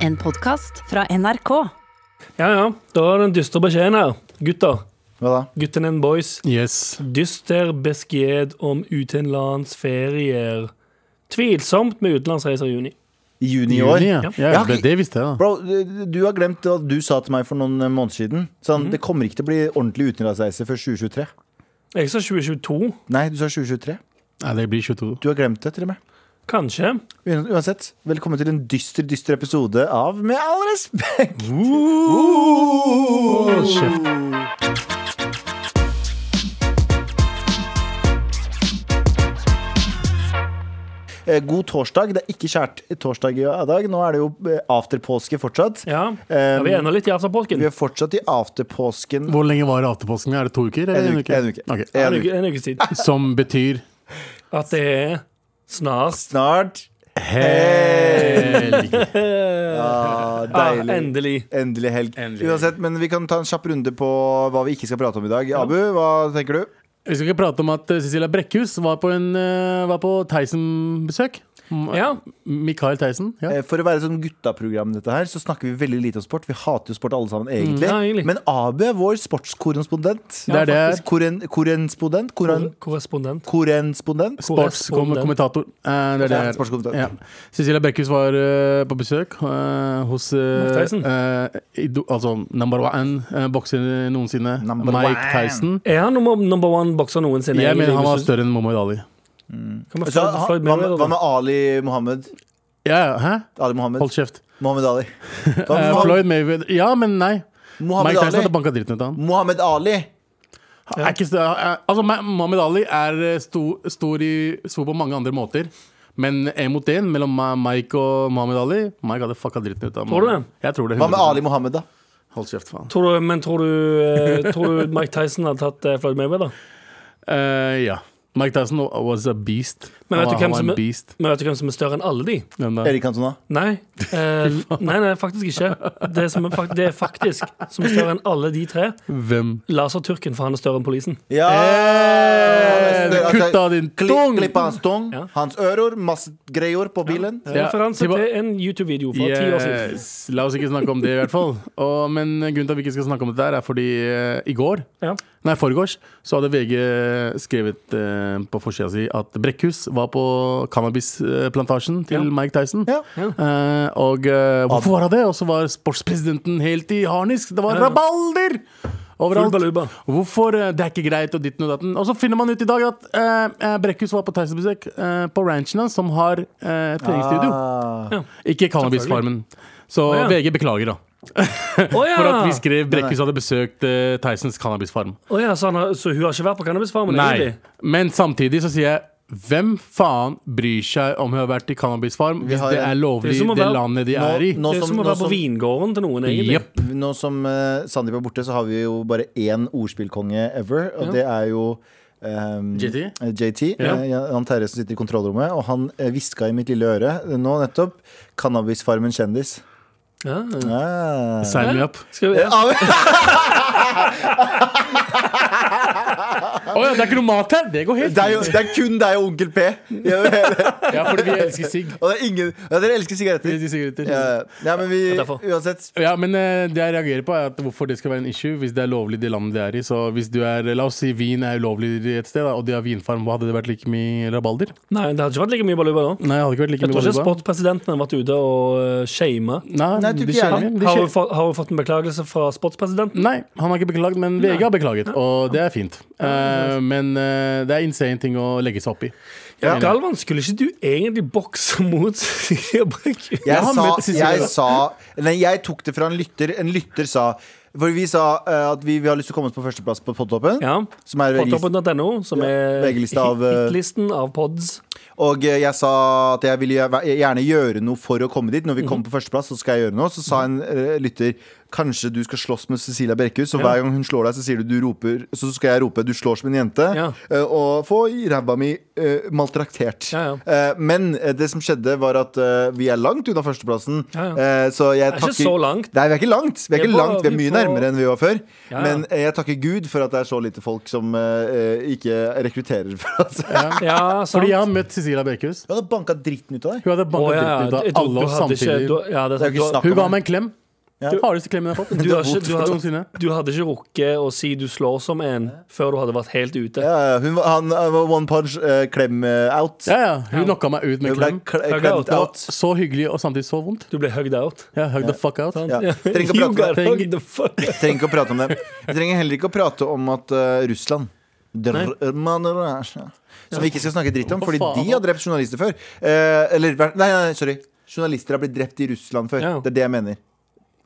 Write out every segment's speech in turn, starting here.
En podkast fra NRK. Ja, ja. Da var det en dyster beskjeden her. Gutter. Hva da? Gutten and boys. Yes. Dyster beskjed om utenlandsferier. Tvilsomt med utenlandsreiser i juni. I juni i år? Juni, ja. Ja, Ja, det, det visste jeg, da. Bro, du har glemt hva du sa til meg for noen måneder siden. Sånn, Det kommer ikke til å bli ordentlig utenlandsreise før 2023. Jeg sa 2022. Nei, du sa 2023. Nei, det blir 22. Du har glemt det, til og med. Kanskje. Uan- Uansett, velkommen til en dyster, dyster episode av Med all respekt! Eh, God torsdag. Det er ikke kjært torsdag i dag. Nå er det jo eh, afterpåske fortsatt. Ja. ja vi er ennå litt i Vi afterpåsken. er fortsatt i afterpåsken. Hvor lenge var afterpåsken? Er det to uker? eller En uke, en uke. Ok. En En uke. uke- en ukes tid. Som betyr At det er snart. Snart. helg. Ah, Ah, deilig. endelig. Endelig helg. Endelig. Uansett, men vi kan ta en kjapp runde på hva vi ikke skal prate om i dag. Abu, hva tenker du? Vi skal ikke prate om at eh, Cecilia Brekkhus var på, en, eh, var på Theisen-besøk. M- Ja. Mikael Theisen. Ja. Eh, For å være sånn guttaprogram, dette her, så snakker vi veldig lite om sport. Vi hater jo sport alle Mm, sammen, egentlig. Ja, egentlig. Men Abu er vår sportskorrespondent. Det er det jeg er. Koren, korrespondent? Koren, Korrespondent. korrespondent? Sportskommentator. Eh, det er det Ja, jeg er. sportskommentator. Ja. Cecilia Brekkhus var eh, på besøk eh, hos eh, Tyson. eh, ido- altså number one eh, bokser noensinne. Number Mike one. Tyson. Er han nummer, number one bokser noensinne? Jeg egentlig, mener han var hvis du- større enn Mohammed Ali. Kan vi Så, Floyd, ha, Floyd hva, med, Mayweather, hva da? med Ali Mohammed? Ja, ja, hæ? Ali Mohammed? Hold kjeft. Mohammed Ali. Hva Eh, med Floyd Mayweather Ja, men nei. Mohammed, Mike Tyson Ali. hadde banka dritten ut av han. Mohammed Ali! Er ikke, stø- er, altså, Ma- Muhammad Ali er eh, stor, stor, i, stor på mange andre måter. Men en mot en mellom Ma- Mike og Muhammad Ali Mike hadde fucka dritten ut av Tror du det? Jeg tror det. Hva med 100%. Ali Mohammed, da? Hold kjeft, faen. Tror du, men tror du, eh, tror du Mike Tyson hadde tatt eh, Floyd Mayweather? Eh, ja. Mike Tyson was a beast. Men vet han, du var- hvem han var som en er- beast. Men vet du hvem som er større enn alle de? Hvem da? Erik Cantona? Nei. Eh, nei, nei, faktisk ikke. Det, som er, fak- det er faktisk som er større enn alle de tre. Hvem? Laserturken, for han er større enn politien. Ja! Eh, Altså, kutt av din kli- tung! Klipp av hans tung, Ja. hans ører, masse greier på bilen. Ja, Referanse tilba- til en YouTube-video fra ti år siden. Yes. La oss ikke snakke om det, i hvert fall. Og, men grunnen til at vi ikke skal snakke om dette, her er fordi eh, i går Ja. Nei, foregårs så hadde VG skrevet eh, på forsida si at Brekkhus var på cannabisplantasjen til Ja. Mike Tyson. Ja. Eh, og eh, hvorfor var han det? Og så var sportspresidenten helt i harnisk. Det var Ja. rabalder Full overalt. baluba. Hvorfor eh, det er ikke greit og ditten og datten. Og så finner man ut i dag at eh, eh, Brekkhus var på Tyson-besøk eh, på ranchen hans, som har eh, treningsstudio. Ah. Ikke cannabisfarmen. Så Å, ja. VG beklager, da. Å ja. For at vi skrev Brekkhus hadde besøkt eh, Tysons cannabisfarm. Å ja, så, han har, så hun har ikke vært på cannabisfarmen? Nei. egentlig? Men samtidig så sier jeg hvem faen bryr seg om hun har vært i cannabisfarm, hvis har det en- er lovlig Det er som å i det være- landet de er i? Nå Det er som- som å nå være på som- vingården til noen, egentlig. Jepp. Nå som eh, Sandeep er borte, så har vi jo bare én ordspillkonge ever, og Ja. det er jo ehm, JT? eh, JT Ja. eh, Jan Terje som sitter i kontrollrommet, og han eh, hviska i mitt lille øre eh, nå nettopp 'Cannabisfarmen kjendis'. Ja. Ah. Sign me up. Skal vi, Å ja, det er ikke noe mat her! Det går helt Det, er jo, fint. det er kun deg og onkel P. Ja, Ja, fordi vi elsker sigg. og det er ingen ja, Dere elsker Vi sigaretter. elsker sigaretter. Ja, ja, men vi Ja, derfor. Uansett. Ja, men eh, det jeg reagerer på, er at hvorfor det skal være en issue hvis det er lovlig i det landet det er i. Så hvis du er, La oss si vin er ulovlig et sted, da, og de har vinfarm, hva hadde det vært like mye rabalder? nei, det hadde ikke vært like mye baluba da. Nei, det hadde ikke vært like Jeg mye tror ikke baluba. sportspresidenten har vært ute og eh, shama. Nei, Nei, tror ikke de jeg skjer- heller. de Har hun skjer- fått- har hun fått en beklagelse fra sportspresidenten? Nei, han har ikke beklaget, men VG har beklaget, og det er fint. Eh, men eh, det er insane ting å legge seg opp i. Ja. Galvan, skulle ikke du egentlig bokse mot Silje Brekkhus? Jeg, Jeg har sa, møtt Sissel jeg Røe. sa Nei, jeg tok det fra en lytter. En lytter sa For vi sa eh, at vi, vi har lyst til å komme oss på førsteplass på Podtoppen. Ja. Som er VGs Podtoppen.no, som Ja, er VG-lista av, eh, hitlisten av pods. Og eh, jeg sa at jeg ville gjøre- gjerne gjøre noe for å komme dit. Når Mhm. vi kommer på førsteplass, så skal jeg gjøre noe. Så sa en eh, lytter kanskje du skal slåss med Cecilia Brekkhus, og Ja. hver gang hun slår deg, så, sier du, du roper, så skal jeg rope 'du slår som en jente', Ja. eh, og få i ræva mi eh, maltraktert. Ja, ja. Eh, men eh, det som skjedde, var at eh, vi er langt unna førsteplassen, Ja, ja. Eh, så jeg Det er takker ikke så langt. Nei, vi er ikke langt. Vi er, Vi er ikke på- langt. Vi er vi mye er på- nærmere enn vi var før. Ja, ja. Men eh, jeg takker Gud for at det er så lite folk som eh, eh, ikke rekrutterer for oss. Ja, sant. Fordi jeg har møtt Cecilie Cecilia Bekehus. Du hadde banka dritten ut av deg. Hun hadde Å, banka ja, dritten ut jeg av trodde alle du oss hadde ikke- samtidig. du- Ja, det Det er er jo ikke sant. snakk Hun ga om meg en klem. Ja. Den Hardeste klemmen jeg har fått. Du, du, har ikke, du, Noensinne. hadde, du hadde ikke rukket å si du slår som en før du hadde vært helt ute. Ja, ja, hun var- han eh, var one punch eh, klem eh, out. Ja, ja. Hun knocka meg ut med Hun ble klem. kle- Hug out, klemt da. out. Så hyggelig og samtidig så vondt. Du ble hugged out. Ja, hug the fuck out. Ja. Trenger ikke å You prate om got det. hugged the fuck. Trenger ikke å prate om det. Vi trenger heller ikke å prate om at eh, Russland Dr- man- Som vi ikke skal snakke dritt om, fordi faen? de har drept journalister før. Eh, eller nei, nei, nei, sorry. Journalister har blitt drept i Russland før. Ja. Mm. Det er det jeg mener.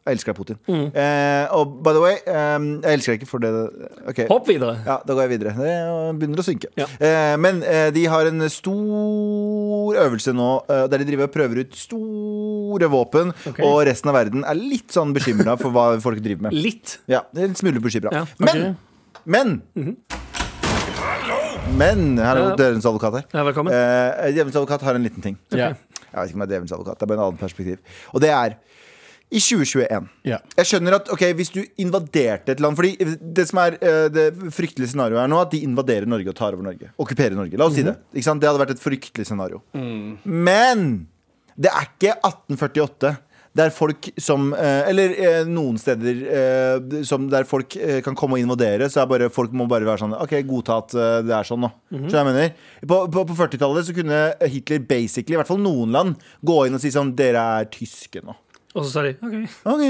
Jeg elsker deg, Putin. Eh, og by the way, eh, jeg elsker deg ikke for det Ok. Hopp videre. Ja, da går jeg videre. Det begynner å synke. Ja. Eh, men eh, de har en stor øvelse nå, eh, der de driver og prøver ut store våpen. Ok. Og resten av verden er litt sånn bekymra for hva folk driver med. Litt. Ja, en smule bekymra. Ja, Mhm. Men! Men! Men Her er Ja. dørens advokat her. Ja, velkommen. Eh, Djevelens advokat har en liten ting. Ja. Jeg vet ikke om det er djevelens advokat, det er bare en annen perspektiv. Og det er i 2021 Ja. jeg skjønner at, ok, hvis du invaderte et land Fordi det som er eh, det fryktelige scenarioet er nå At de invaderer Norge og tar over Norge Okkuperer Norge, la oss Mhm. si det ikke sant? Det hadde vært et fryktelig scenario Men det er ikke 1848 der folk som, eh, eller eh, noen steder eh, som der folk eh, kan komme og invadere, så er bare, folk må bare være sånn, ok, godta at eh, det er sånn nå. Skjønner du hva jeg mener? På, på, på 40-tallet så kunne Hitler basically, i hvert fall noen land, gå inn og si sånn, dere er tyske nå. Og så sa de OK. Ok,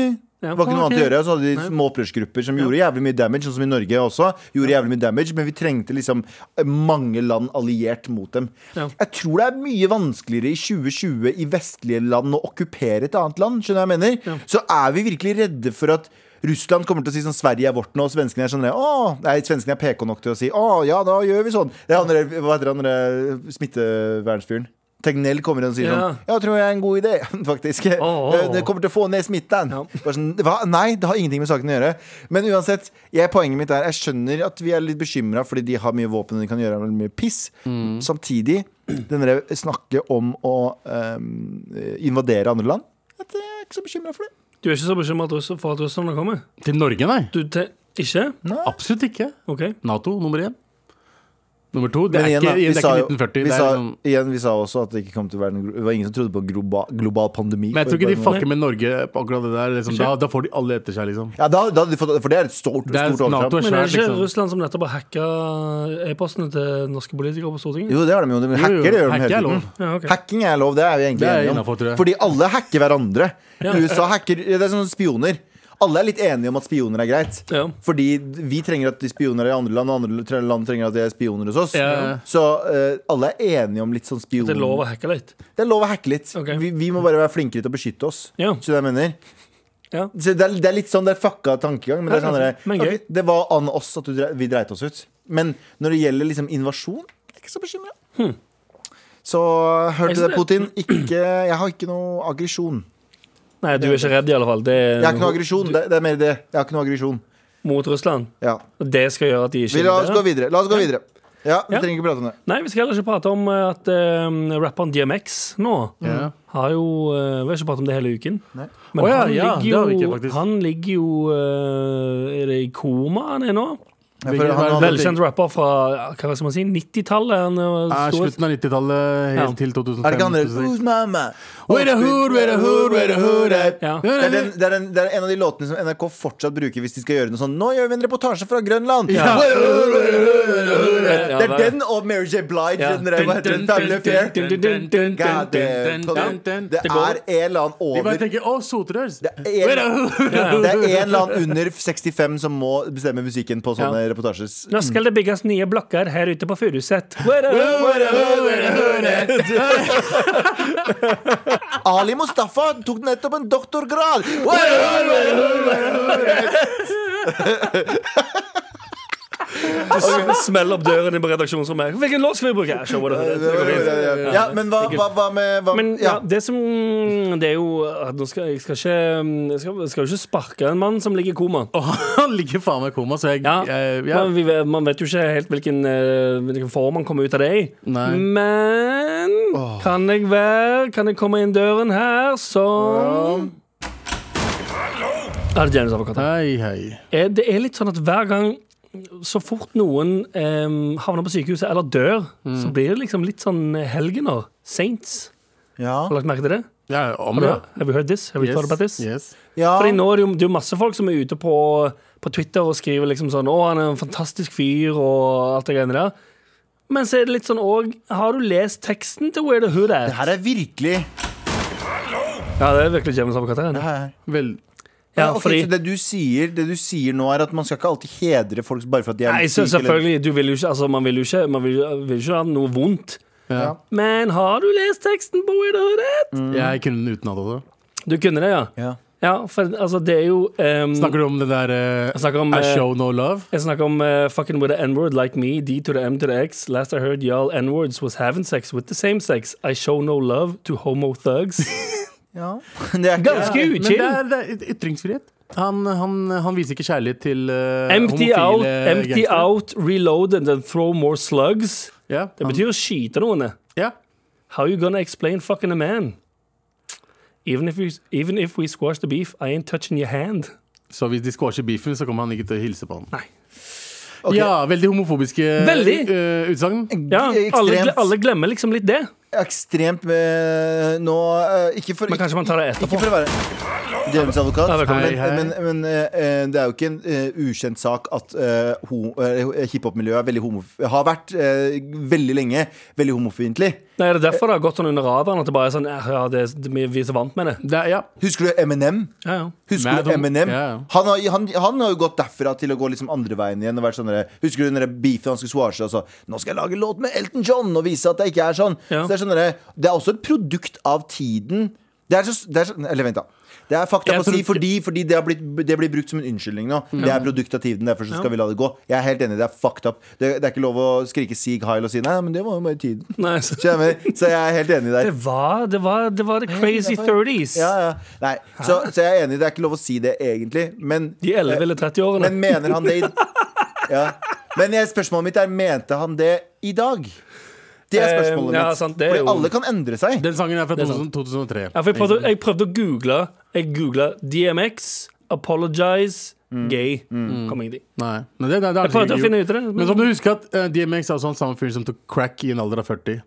det var ikke noe annet å gjøre. Så hadde de små opprørsgrupper som gjorde jævlig mye damage, sånn som i Norge også. Gjorde jævlig mye damage, Men vi trengte liksom mange land alliert mot dem. Ja. Jeg tror det er mye vanskeligere i 2020 i vestlige land å okkupere et annet land. Skjønner du hva jeg mener? Så er vi virkelig redde for at Russland kommer til å si sånn Sverige er vårt nå, og svenskene er sånn Å, nei, svenskene er PK nok til å si Å, ja, da gjør vi sånn. Det er han der- hva heter han der smittevernfyren? Tegnell kommer inn og sier Ja. sånn Ja, tror jeg er en god idé, faktisk. Å, å, Eh, Det- å. Det kommer til å få ned smitten. Ja. Bare sånn, hva? Nei, det har ingenting med saken å gjøre. Men uansett, jeg, poenget mitt er jeg skjønner at vi er litt bekymra fordi de har mye våpen og de kan gjøre veldig mye piss. Mm. Samtidig, den der snakket om å eh, invadere andre land at Jeg er ikke så bekymra for det. Du er ikke så bekymret russer- for at russerne kommer? Til Norge, nei. Du te ikke? Absolutt ikke. OK. Nato nummer én. Nummer to Det Men er igjen, ikke, da, det vi er sa ikke jo- Vi, 1940. Det sa, er liksom, igjen, vi sa også at det ikke kom til å være en, glo- det var ingen som trodde på global, global pandemi. men jeg for tror bare ikke de noen år. fucker med Norge på akkurat det der. Liksom. Da, da får de alle etter seg, liksom. ja, da, da, hadde de fått- For det er et stort, Det er stort NATO overtramp. er Men er det svært, ikke liksom. Russland som nettopp har hacka e-postene til norske politikere på Stortinget? Jo, det har de jo. De hacker det gjør de hele hacker er tiden. lov. Ja, ok. Hacking er lov, det er vi egentlig Det er enige innenfor, tror om. jeg. Fordi alle hacker hverandre. USA hacker Det er sånn spioner. Alle er litt enige om at spioner er greit. Ja. Fordi vi trenger at de spioner er i andre land, og andre tre- land trenger at de er spioner hos oss. Ja. Så eh, alle er enige om litt sånn spion... Det er lov å hacke litt. Det er lov å hacke litt. Ok. Vi, vi må bare være flinkere til å beskytte oss. Ja. Så det, jeg mener. Ja. Så det, er, det er litt sånn det er fucka tankegang. Men det, er Ja, sånn ja, der, men gøy. ok, det var an oss at du dre, vi dreit oss ut. Men når det gjelder liksom invasjon, jeg er ikke så bekymra. Så hørte Hmm. Jeg du synes det, Putin. Ikke, jeg har ikke noe aggresjon. Nei, du er ikke redd, i alle fall. Det Jeg har ikke noe er aggresjon. Det, det er mer det. Jeg har ikke noe aggresjon. mot Russland. Ja. Og Det skal gjøre at de Vi, ikke la oss gå invaderer. videre. La oss gå videre. Ja, vi Ja. trenger ikke prate om det. Nei, vi skal heller ikke prate om eh, at eh, rapperen DMX nå Ja. har jo eh, Vi har ikke pratet om det hele uken. Nei. Men Å ja, han, ja, det har vi ligger jo, ikke, faktisk. han ligger jo eh, Er det i koma han er nå? Ja, for han- han- Velkjent rapper fra ja, hva skal man si, 90-tallet. Han er Er stor- Ah, slutten av 90-tallet helt Ja. til Er det ikke han der 2005. Who's mama? Where the hood, where the hood, where the hood at? Ja. Where Det the er, den, det, er den, det er en av de låtene som NRK fortsatt bruker hvis de skal gjøre noe sånn Nå gjør vi en reportasje fra Grønland! Ja. Where the hood, where the hood, where the hood at? Ja, Det er det er- den og Mary J. Blige. Ja. Den der, hva heter den? Family Affair. Dun, dun, dun, dun, God damn. dun, dun, dun. Det Det er går. en eller annen De bare over tenker 'Å, sotrørs'. Det er Where the en, hood? det er en eller annen under 65 som må bestemme musikken på sånne reportasjer. Nå Mm. skal det bygges nye blokker her ute på Furuset. Ali Mustafa tok nettopp en doktorgrad! Where the hood, where the hood, where the hood at? Smell opp døren inn på redaksjonsrommet. Hvilken låt skal vi bruke? Ja, se hvor det er. Ja, men hva, hva, hva med hva, Men ja, ja. det som Det er jo nå skal, Jeg skal ikke Jeg skal, jeg skal jo ikke sparke en mann som ligger i koma. Og han ligger faen meg i koma, så jeg, Ja. jeg ja. Man, vi, man vet jo ikke helt hvilken, eh, hvilken form han kommer ut av det i. Nei. Men kan jeg være Kan jeg komme inn døren her som Er det James Advokat? Hei, hei. Eh, Det er litt sånn at hver gang så fort noen eh, havner på sykehuset eller dør, så Mm. blir det liksom litt sånn helgener. Saints. Ja. Har du lagt merke til det? Ja, om Har du, ja. have you heard this? Have you thought about this? yes. ja. Fordi nå er det jo, det er jo masse folk som er ute på, på Twitter og skriver liksom sånn Å, han er en fantastisk fyr og alt det greiene der. Men så er det litt sånn òg Har du lest teksten til Where the Hood Det At? her er virkelig Ja, det er virkelig James Abakataren. Vel, Ja, Ok, fordi Så det du, sier, det du sier nå, er at man skal ikke alltid hedre folk bare for at de er Nei, litt så syke, eller- selvfølgelig. Du vil jo ikke Altså, man vil jo ikke Man vil, vil ikke ha noe vondt. ja. Men har du lest teksten på Where the Hood At? Jeg kunne den utenat også. Du kunne det, ja? Ja. Ja, for altså, det er jo ehm, Snakker du om det der eh, Jeg snakker om, I eh, show no love? Jeg snakker om eh, fucking with the n-word like me, d to the m to the x. Last I heard y'all n-words was having sex with the same sex. I show no love to homo thugs. Ja. Det er ikke Ganske Men det uchill. er, det er ytringsfrihet. Han, han, han viser ikke kjærlighet til eh, Empty homofile out, empty gangstere. out, reload and then throw more slugs. Ja, Det han, betyr å skyte noen. ja. How you gonna explain fucking a man? Even if, we, even if we squash the beef, I ain't touching your hand. Så hvis de squasher beefen, så kommer han ikke til å hilse på han. Nei. Ok. Ja, veldig homofobiske Veldig. eh, utsagn. Ja, alle, Ekstremt. gle- alle glemmer liksom litt det. ekstremt med Nå eh, Ikke for Men kanskje man tar det Ikke etterpå. for å være djevelens advokat, Ja, velkommen. men, Hei, hei. men, men eh, eh, det er jo ikke en eh, ukjent sak at eh, ho- eh, hiphop-miljøet er veldig homof- har vært eh, veldig lenge veldig homofiendtlig. Nei, er det derfor det har gått sånn under radaren at det bare er sånn eh, Ja, det, vi vi er så vant med det. Det er, ja. Husker du Eminem? Ja, ja. Husker Mad du homo- Eminem? Ja, ja. Han, har, han, han har jo gått derfra til å gå liksom andre veien igjen. Og vært sånn der, husker du den der beefen han skulle swashe? Og så, 'Nå skal jeg lage låt med Elton John!' Og vise at det ikke er sånn. Ja. Så det, er sånn der, det er også et produkt av tiden. Det er så, det er så, eller vent, da. Det er fakta Jeg på å si tror- Mm. fordi, fordi det, har blitt, det blir brukt som en unnskyldning nå. Det er produkt av tiden, derfor så skal vi la det gå. Jeg er helt enig, det er fucked up. Det, det er ikke lov å skrike Sig Heil og si 'nei, men det var jo bare tiden'. Nei, så- Så jeg, mener, så jeg er helt enig der. Det var det, var, det, var the crazy 30s. Ja, ja. Nei, så, så jeg er enig, det er ikke lov å si det egentlig, men eh, De 11 eller 30-årene. Men mener han det i ja. Men jeg, spørsmålet mitt er Mente han det i dag? Det er Eh, spørsmålet ja, mitt. sant, det er jo- Fordi alle kan endre seg. Den sangen er fra er sant. 2000, 2003. Ja, for jeg, prøvde, jeg prøvde å google Jeg googlet DMX, Apologize, Mm. Gay. Kom ingen dit. Nei. Men det, det, det har Jeg prøvde å ikke finne ut gjort. av det. Men Men, sånn- som du husker, at eh, DMX er også han samme fyr som tok crack i en alder av 40.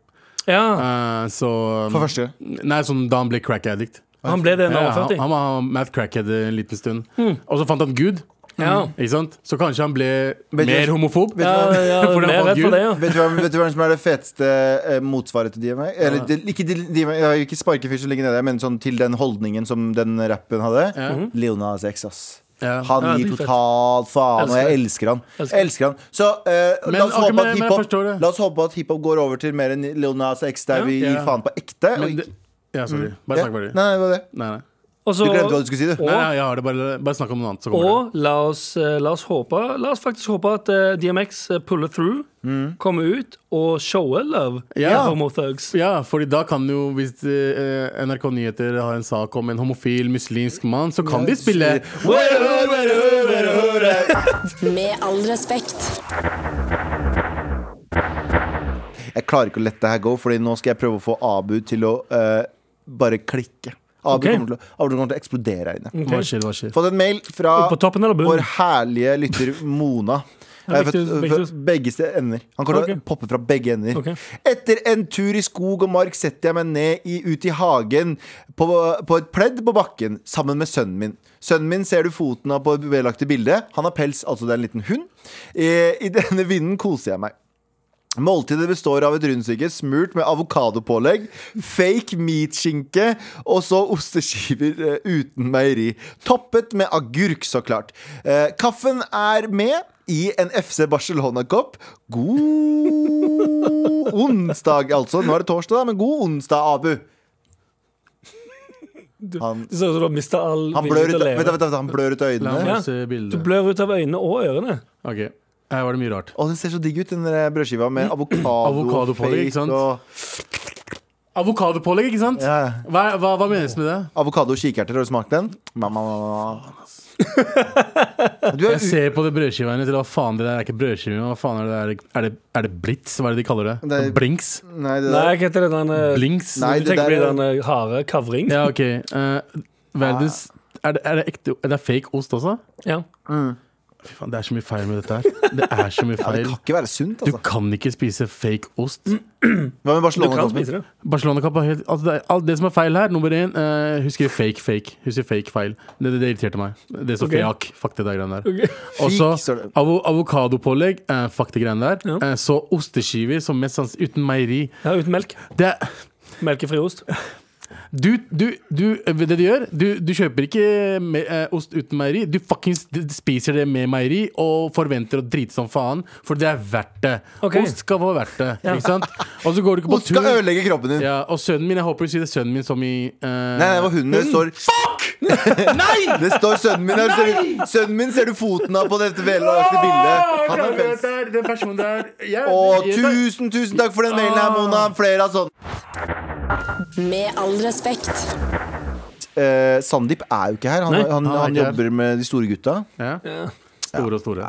ja, Eh, så For første gang. Nei, sånn da han ble crack addict. han ble det da han var Ja, han, 40. han var mad crackhead en liten stund. Og så fant han Gud. Hmm. Ja. Ikke sant? Så kanskje han ble Vet du- mer homofob. vet du Ja, ja, For det mer var rett for Gud. det, ja. Vet du, hvem, vet du hvem som er det feteste eh, motsvaret til DMX? Eller det, ikke, til DMX, ja, ikke sparkefyr som ligger nede, men sånn til den holdningen som den rappen hadde. Ja. Mhm. Leonas Lil Nas X, ass. Ja. Han Ja, gir det er fett. totalt faen, og jeg elsker Elsker han. Elsker. Elsker han. Så eh, Men la, oss ok, håpe at men- men jeg hiphop, forstår det. la oss håpe at hiphop går over til mer enn Lil Nas X, der Ja. vi gir Ja. faen på ekte. og Men ikke- det, ja, sorry. Hmm. Ja. Bare snakk Nei, ferdig. nei, det var det. Nei, nei. Og Du så- glemte hva du skulle si, du. Og- Nei, nei, jeg har det. Bare, bare snakk om noe annet, så kommer Og la oss, eh, la oss håpe La oss faktisk håpe at eh, DMX eh, puller through, Mm. kommer ut og shower love Ja. til homo thugs. det. Ja, fordi da kan jo, hvis eh, NRK Nyheter har en sak om en homofil muslimsk mann, så kan de spille Med all respekt. Jeg klarer ikke å lette det her gå, Fordi nå skal jeg prøve å få Abu til å eh, bare klikke. Abu, Ok. kommer til å, Abu kommer til å eksplodere her inne. Hva skjer, hva skjer? Fått en mail fra På toppen eller vår bunnen? herlige lytter Mona. Jeg har Begge fått- hus, begge fått hus. begge ste- ender. Han kommer til Ok. å poppe fra begge ender. Ok. Etter en tur i skog og mark setter jeg meg ned i, ut i hagen på, på et pledd på bakken sammen med sønnen min. Sønnen min ser du foten av på det vedlagte bildet. Han har pels, altså det er en liten hund. Eh, I denne vinden koser jeg meg. Måltidet består av et rundstykke smurt med avokadopålegg, fake meat-skinke og så osteskiver eh, uten meieri. Toppet med agurk, så klart. Eh, kaffen er med i en FC Barcelona-kopp. God onsdag, altså. Nå er det torsdag, da, men god onsdag, Abu. Han, Det ser ut som du har mista all han, vilje blør til å ut, vent, da, leve. vent, da, han blør ut La meg øynene. Ja. se Du bildet. blør ut av øynene og ørene. Ok, her var det mye rart. Å, den ser så digg ut, den der brødskiva med avokado og Mm. Avokadopålegg, fake ikke sant? og Avokadopålegg, ikke sant? ja. ja. Hva, hva, hva menes med det? Avokado og kikerter, har du smakt den? Ma, ma, ma, ma. Du er Jeg ser på det brødskiva hennes. eller Hva faen det der er ikke brødskive? Hva faen er det der? Er det, er det blitz? Hva er det de kaller det? Det er- Blinks? u... Nei, det Nei, der. hva heter det? Den, eh, Blinks? Nei, du det tenker der på er- den eh, harde kavring? Ja, ok. Ah. Eh, verdens er det, er det ekte Er det fake ost også? Ja. Fy faen, det er så mye feil med dette her. Det er så mye Ja, det feil. kan ikke være sunt, Du altså. kan ikke spise fake ost. Hva med Du kan Barcelona? spise det. Barcelona-kapp er helt altså det, er, alt det som er feil her, nummer én eh, Husker fake, fake. Husker fake feil. Det, det, det irriterte meg. Det som Ok. fiak. Fuck det der greiene der. Og Fik, så står det. avo, avokadopålegg. eh, fuck det greiene der. Ja. Eh, så osteskiver som mest sans uten meieri. Ja, uten melk. Det er Melkefri ost. du, du, du, eh, det du gjør Du, du kjøper ikke me, eh, ost uten meieri. Du fuckings d- spiser det med meieri og forventer å drite som faen, for det er verdt det. Ok. Ost skal være verdt det. Ikke sant? Og så går du ikke på Ost skal ødelegge kroppen din. ja, og sønnen min, jeg håper du sier det er sønnen min som i eh, Nei, det var hunden. Det står Nei! Det står sønnen min her. Ser du, sønnen min ser du foten av på dette velaktige bildet. Han har pels. Den personen der jeg, Og tusen, tusen takk for den mailen her, Mona. Flere av sånne. Med all respekt. Eh, Sandeep er jo ikke her. Han, Nei, han, han er han ikke her. jobber med de store gutta. ja. Store og store.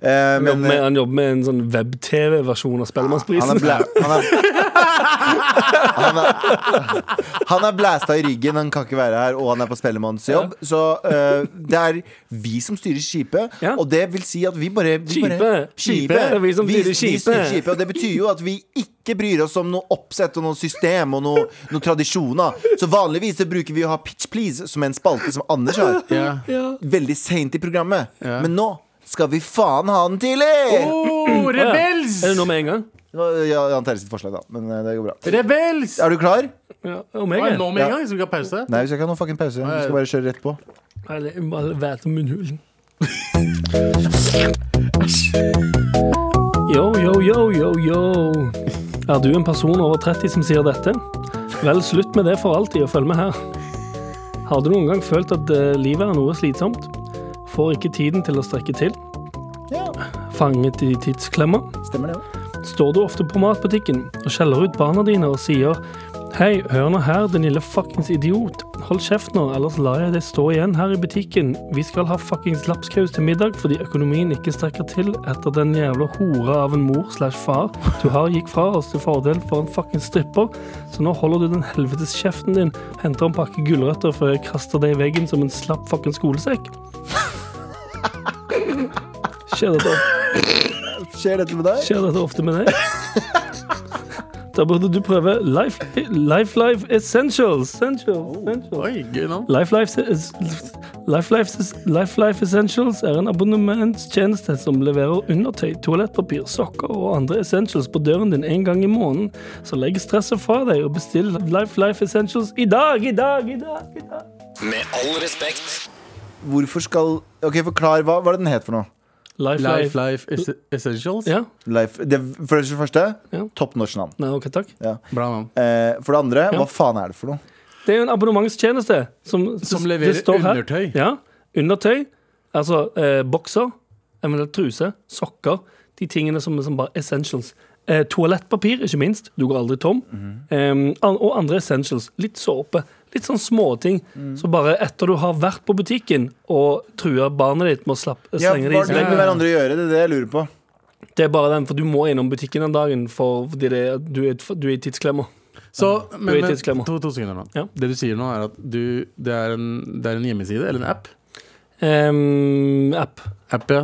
Eh, Han jobber men med, han jobber med en sånn web-TV-versjon av han er, Spellemannsprisen. bla, han, er, han, er, han er blæsta i ryggen, han kan ikke være her, og han er på Spellemannsjobb. Så eh, det er vi som styrer skipet, Ja. og det vil si at vi bare vi bare- Skipet. Skipet. Det er vi som styrer skipet. skipet. Og det betyr jo at vi ikke bryr oss om noe oppsett og noe system og noe, noe tradisjoner. Så vanligvis så bruker vi å ha Pitch Please som en spalte som Anders har. Ja. Veldig seint i programmet. Ja. Men nå skal vi faen ha den tidlig! Oh, rebels! Er det nå med en gang? Det var ja, Jan Terje sitt forslag, da. Men eh, det går bra. Rebels! Er du klar? Nei, Ja, om Hva jeg er er det nå med en gang? Skal vi ikke ha pause? vi skal ikke ha noen fucking pause. Vi skal Nei. bare kjøre rett på. Eller, bare vært om munnhulen. Yo, yo, yo, yo, yo. Er du en person over 30 som sier dette? Vel, slutt med det for alltid, og følg med her. Har du noen gang følt at eh, livet er noe slitsomt? Får ikke tiden til å strekke til? Ja, Fanget i tidsklemma? stemmer det òg. står du ofte på matbutikken og skjeller ut barna dine og sier Hei, hør nå her, din lille fuckings idiot. Hold kjeft nå, ellers lar jeg deg stå igjen her i butikken. Vi skal ha fuckings lapskaus til middag fordi økonomien ikke strekker til etter den jævla hora av en mor slash far du har gikk fra oss til fordel for en fuckings stripper, så nå holder du den helvetes kjeften din, henter en pakke gulrøtter før jeg kaster deg i veggen som en slapp fuckings skolesekk. Skjer dette opp? Skjer dette med deg? Skjer dette ofte med deg? Da burde du prøve Life Life, life Essentials. Essentials. Essentials. Oh, Oi, gøy navn. Life Life, es- life, life, life, life Essentials er en abonnementstjeneste som leverer undertøy, toalettpapir, sokker og andre essentials på døren din en gang i måneden. Så legg stresset fra deg og bestill Life Life Essentials i dag, i dag, i dag! i dag. Med all respekt. Hvorfor skal OK, forklar. Hva var det den het for noe? Life Life, Life. life, ess- essentials. Ja? Life. Det, for det første, Ja. top norsk navn. Nei, OK, takk. Ja. Bra navn. Eh, for det andre, Ja. hva faen er det for noe? Det er jo en abonnementstjeneste som, Som det leverer står her. undertøy. Ja, undertøy. Altså eh, bokser, eventuelt truse, sokker. De tingene som, som bare essentials. Eh, toalettpapir, ikke minst. Du går aldri tom. Eh, an- og andre essentials. Litt såpe. Litt sånn småting. Så bare etter du har vært på butikken og trua barnet ditt med å slapp, Ja, slenge det hva i har det seg med hverandre å gjøre? Det er det jeg lurer på. Det er bare den, for du må innom butikken den dagen for, fordi det, er- du, er, du er i tidsklemma. Så, Du er i men, men tidsklemma. to, to sekunder nå. Ja. Det du sier nå, er at du, det, er en, det er en hjemmeside eller en app. Eh, app. app ja.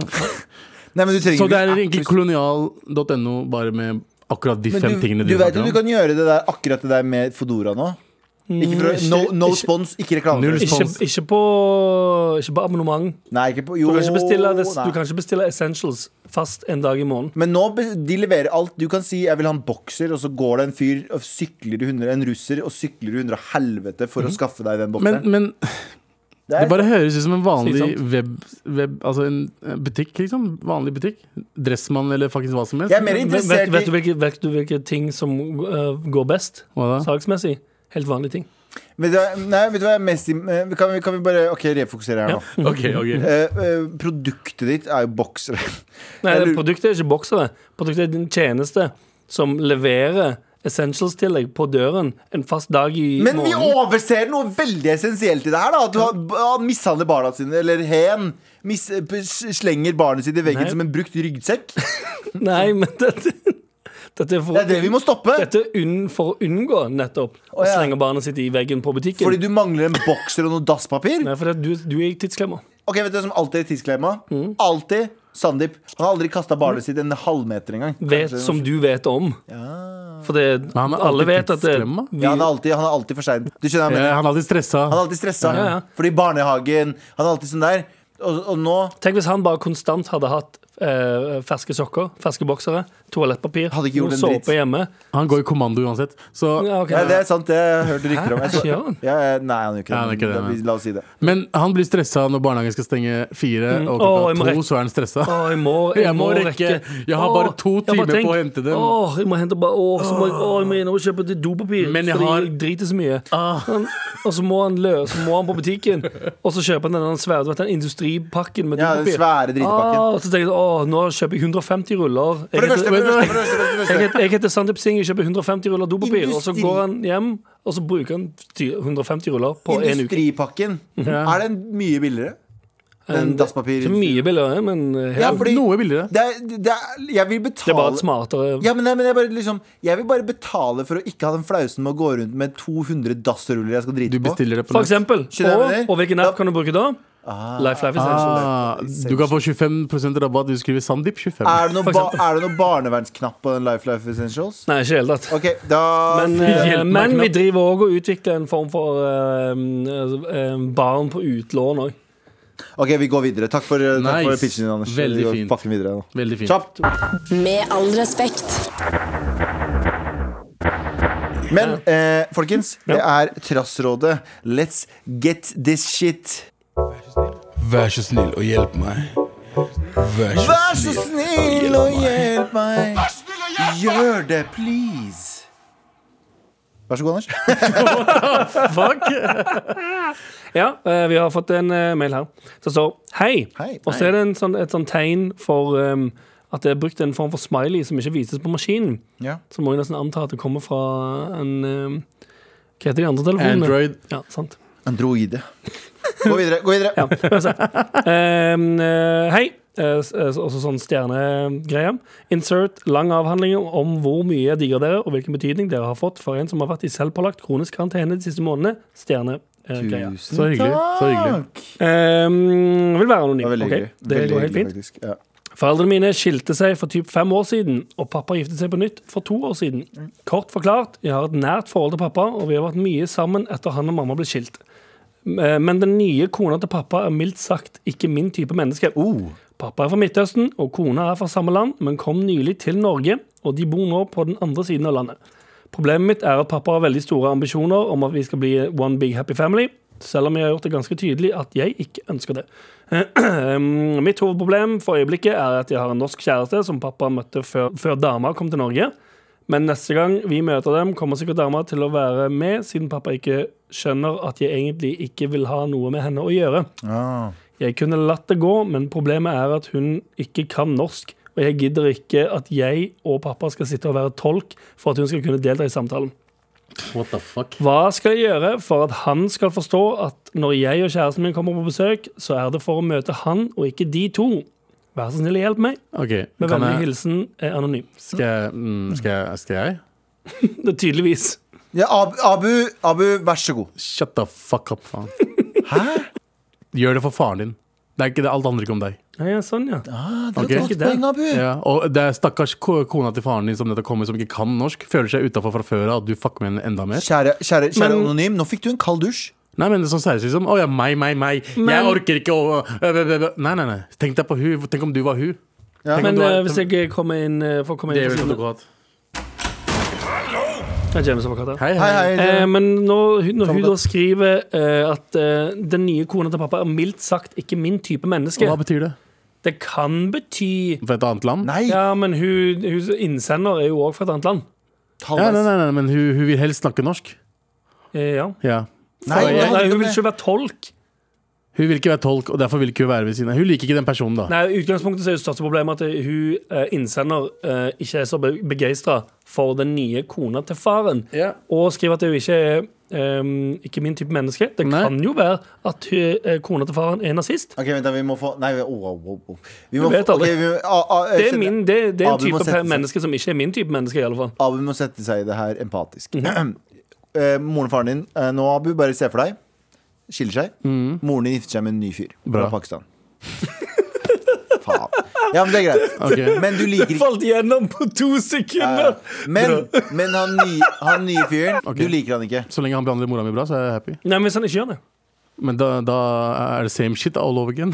Nei, men du trenger Så det ikke er app egentlig hvis- kolonial.no, bare med akkurat de fem Men tingene du, du vet jo snakker om. du kan gjøre det der, akkurat det der med Fodora nå? Mm, Ikke for, Mm, å- no, no ikke- spons, ikke reklame. Null for det. spons. Ikke, ikke, på, ikke på abonnement. Nei, ikke på, jo, Du kan ikke bestille, det, nei. du kan ikke bestille essentials fast en dag i måneden. Men nå be- de leverer alt. Du kan si 'jeg vil ha en bokser', og så går det en fyr og sykler i hundre, en russer og sykler i hundre og helvete for å Mhm. skaffe deg den bokseren. Men, men det det er, bare høres ut som en vanlig Slitsomt. web, web Altså en eh, butikk, liksom. Vanlig butikk. Dressmann eller faktisk hva som helst. jeg er mer Vet, interessert vet, vet, du i hvilke, vet du hvilke ting som øh, går best Hva da? salgsmessig? Helt vanlige ting. Vet du hva- Nei, vet du hva jeg er mest i- eh, kan, vi, kan vi bare OK, refokusere her nå. Ok, ok. Eh, eh, produktet ditt er jo boksere. Nei, Jeg lurer- Produktet er ikke boksere. Produktet er en tjeneste som leverer essentials-tillegg på døren en fast dag i Men vi måneden. overser noe veldig essensielt i det her. da At du har, han mishandler barna sine, eller hen. Mis, p- slenger barnet sitt i veggen Nei. som en brukt ryggsekk. Nei, men dette, dette er for, Det er det vi må stoppe! dette er unn, for å unngå nettopp å ja. slenge barnet sitt i veggen på butikken. Fordi du mangler en bokser og noe dasspapir. Nei, fordi at du, du er i tidsklemma. Ok, vet du hva som alltid er tidsklemma? Mm. Alltid Sandeep. Han har aldri kasta barnet sitt en halvmeter engang. Vet Kanskje- som du vet om. For det, han er alle alltid vet at det, tidsklemma. vi, ja, han, er alltid, han er alltid for sein. Du skjønner hva jeg mener? Eh, Han er alltid stressa. Han er alltid stressa. Ja, ja. Fordi barnehagen Han er alltid sånn der. Og, og nå Tenk hvis han bare konstant hadde hatt eh, ferske sokker, ferske boksere, toalettpapir, Hadde ikke noe gjort en dritt. såpe hjemme. Han går i kommando uansett. Så, Ja, ok. Nei, det er sant, det har jeg hørt rykter om. Jeg så- Hæ? Gjør han? ja, ja, nei, han gjør ikke det. Ja, han gjør ikke det, men nei. vi- La oss si det. Men han blir stressa når barnehagen skal stenge fire, Mm. og klokka Å, jeg må to rekke- så er han stressa. Å, jeg må, jeg Jeg må rekke. Jeg har bare Å, to jeg bare timer på å tenk, hente dem. Å, jeg må hente bare Å, så må jeg, å, jeg må inn og kjøpe det dopapir, Men jeg fordi har- jeg driter så mye. Ah. Han- Og så må han lø, så må han på butikken, og så kjøper han den svære, du vet, den industripakken med Ja, den dopapir. svære dritpakken. Å, så tenker jeg å, nå kjøper jeg 150 ruller. Jeg For det første, heter- for det første, for det første, for det Jeg første. heter, jeg heter Sandeep Singh, jeg kjøper 150 ruller dopapir. Og så Industri- går han hjem, og så bruker han 150 ruller på én uke. Industripakken. Er den mye billigere? Den dasspapir... Ikke mye billigere, men eh, Ja, fordi Noe billigere. det er, det er, jeg vil det er bare betale et smartere ja, men, nei, men jeg, bare, liksom, jeg vil bare betale for å ikke ha den flausen med å gå rundt med 200 dassruller jeg skal Du drite på. bestiller det på For nett. eksempel. Skjønner jeg Og, hva jeg mener? og hvilken app kan du bruke da? Lifelife Essential. Ah, du kan få 25 rabatt. Du skriver Sandeep 25. Er det noen For ba, er det noe barnevernsknapp på den Life Life Essentials? Nei, ikke i det hele tatt. Ok, da Men, Hjelp eh, meg men vi knapt. driver òg og utvikler en form for eh, eh, barn på utlån òg. Ok, vi går videre. Takk for, takk Nice. for pitchen din, Anders. Veldig vi går fint. fucking videre nå. Veldig fint. Kjapt. Med all respekt. Men eh, folkens, det er Trassrådet. Let's get this shit. Vær så snill og hjelp meg. Vær så Vær så snill og hjelp meg. Gjør det, please. Vær så god, Anders. Ja, eh, vi har fått en eh, mail her som står hei. Hei. Og så er det en sånn, et sånn tegn for em, at det er brukt en form for smiley som ikke vises på maskinen. Ja. Så må jeg nesten anta at det kommer fra en em, Hva heter de andre telefonene? Android. Ja, sant. Androide. Gå videre. gå videre Ja, uansett. Em, eh, hei. Eh, s- eh, Også sånn stjernegreie. Insert lang avhandling om hvor mye jeg digger dere, og hvilken betydning dere har fått for en som har vært i selvpålagt kronisk karantene de siste månedene. Stjernegreia. Tusen Så hyggelig. Så hyggelig. takk. Um, vil være Det anonym. var veldig Ok, hyggelig. Det Veldig går helt hyggelig, fint. faktisk. Ja. Foreldrene mine skilte seg for typ fem år siden, og pappa giftet seg på nytt for to år siden. Kort forklart, jeg har et nært forhold til pappa, og vi har vært mye sammen etter han og mamma ble skilt. Eh, Men den nye kona til pappa er mildt sagt ikke min type menneske. Pappa er fra Midtøsten, og kona er fra samme land, men kom nylig til Norge, og de bor nå på den andre siden av landet. Problemet mitt er at pappa har veldig store ambisjoner om at vi skal bli one big happy family, selv om jeg har gjort det ganske tydelig at jeg ikke ønsker det. Um, Mitt hovedproblem for øyeblikket er at jeg har en norsk kjæreste som pappa møtte før, før dama kom til Norge. Men neste gang vi møter dem, kommer sikkert dama til å være med, siden pappa ikke skjønner at jeg egentlig ikke vil ha noe med henne å gjøre. Ah. Jeg kunne latt det gå, men problemet er at hun ikke kan norsk. Og jeg gidder ikke at jeg og pappa skal sitte og være tolk for at hun skal kunne delta i samtalen. What the fuck? Hva skal jeg gjøre for at han skal forstå at når jeg og kjæresten min kommer på besøk, så er det for å møte han og ikke de to? Vær så snill, hjelp meg. Ok, Med kan vennlig jeg, hilsen eh, anonym. skal, jeg, mm, skal, jeg, skal jeg? Det er tydeligvis. Ja, Ab- Abu, Abu, vær så god. Shut the fuck up, faen. Hæ? Gjør det for faren din. Det er ikke det, alt handler ikke om deg. Ja, ja, sånn, ja. Ah, det var Ok. et godt Ikke det. poeng, Abu. Ja, og det er stakkars ko- kona til faren din som nettopp kommer, som ikke kan norsk. Føler seg utafor fra før av at du fucker med henne enda mer. Kjære, kjære, kjære Men- Anonym, nå fikk du en kald dusj. Nei, men det er sånn seriøst liksom. Å ja, meg, meg, meg. Men- Jeg orker ikke å øh, øh, øh, øh. Nei, nei, nei. Tenk deg på hun. Tenk om du var hun. Ja. Tenk om Men du eh, var- hvis jeg kommer inn eh, får komme sånn. Det inn er på siden. vel advokat. Ja, James advokat, ja. Hei, Hei, hei. hei. Eh, men når, hun- når hun Advokat. da skriver eh, at eh, den nye kona til pappa er mildt sagt ikke min type menneske, Hva betyr det? det kan bety Fra et annet land? Nei, Ja, men hun, hun innsender er jo òg fra et annet land. Ja, nei, halvveis. nei, nei, men hun, hun vil helst snakke norsk. Eh, ja. Ja. Nei, Nei, det handler ikke hun om vil det. ikke være tolk. Hun vil ikke være tolk, og derfor vil ikke hun være ved siden av. Hun liker ikke den personen, da. Nei, i utgangspunktet så er det største problemet at hun eh, innsender eh, ikke er så begeistra for den nye kona til faren. Ja. Og skriver at hun ikke er ehm, ikke min type menneske. Det Nei. kan jo være at hun, eh, kona til faren er nazist. Ok, vent da, vi må få Nei, vi, oh, oh, oh. vi må Du vet få- aldri. ok, vi må- ah, ah, jeg Det er, skjønner. min, det, det er en Abu må type sette seg. menneske som ikke er min type menneske, i alle fall. Abu må sette seg i det her empatisk. Eh, moren og faren din, eh, nå, Abu, bare se for deg skiller seg. Moren din gifter seg med en ny fyr Bra. fra Pakistan. Faen. Ja, men det er greit. Ok. Men du liker ikke Falt gjennom på to ja, sekunder! ja. Men, men han, nye, han nye fyren, du liker han ikke. Så lenge han behandler mora mi bra, så er jeg happy. Nei, men hvis han ikke gjør det Men da, da er det same shit all over again.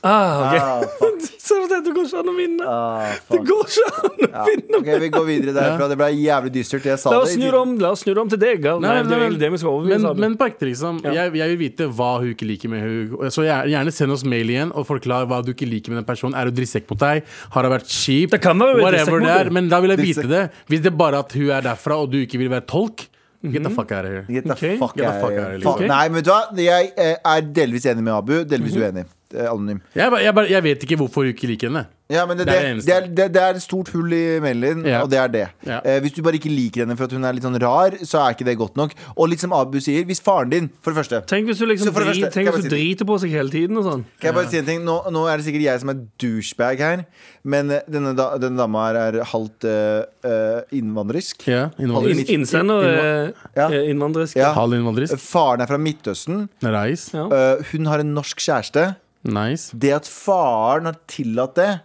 ah, ok. Ah, fuck, Ser du det? Det går ikke an å vinne. ah, Det fuck. går ikke an å vinne. Ok, Vi går videre derfra. Det ble jævlig dystert. Jeg sa La oss det. i snu det tide. om, la oss snu det om til deg. Gal. Nei, det Nei, er nei, egentlig det vi skal overbevise Men, om. men på ekte, liksom. Ja. Jeg, jeg vil vite hva hun ikke liker med hun Så gjerne, gjerne send oss mail igjen og forklar hva du ikke liker med den personen. Er hun drittsekk mot deg? Har hun vært kjip? Det kan være hun er drittsekk Whatever det mot er. deg. Men da vil jeg vite Drittsekk. det. Hvis det er bare at hun er derfra, og du ikke vil være tolk, get Mhm. the fuck out of here. Get the Ok, fuck get the out fuck of out here. of here, Faen. liksom. Nei, men vet du hva? Jeg eh, er delvis enig med Abu, delvis uenig. Eh, Anonym. Jeg, bare- jeg, bare- jeg vet ikke hvorfor hun ikke liker henne. Ja, men det, Det det, er det det, eneste. er, det, det er et stort hull i mailen din, Ja. og det er det. Ja. Eh, hvis du bare ikke liker henne for at hun er litt sånn rar, så er ikke det godt nok. Og litt som Abu sier, hvis faren din For det første, Tenk hvis du liksom Så for det drit, første, tenk kan hvis du jeg si- driter på seg hele tiden og sånn. kan jeg bare si en ting? Nå, nå er det sikkert jeg som er douchebag her, men eh, denne, da, denne dama her er halvt eh, eh, innvandrisk. Ja, In, innvandrer. innsender eh, Ja. eh, innvandrisk. Ja. Halv innvandrer. Faren er fra Midtøsten. Nice. Ja. Eh, hun har en norsk kjæreste. nice. Det at faren har tillatt det,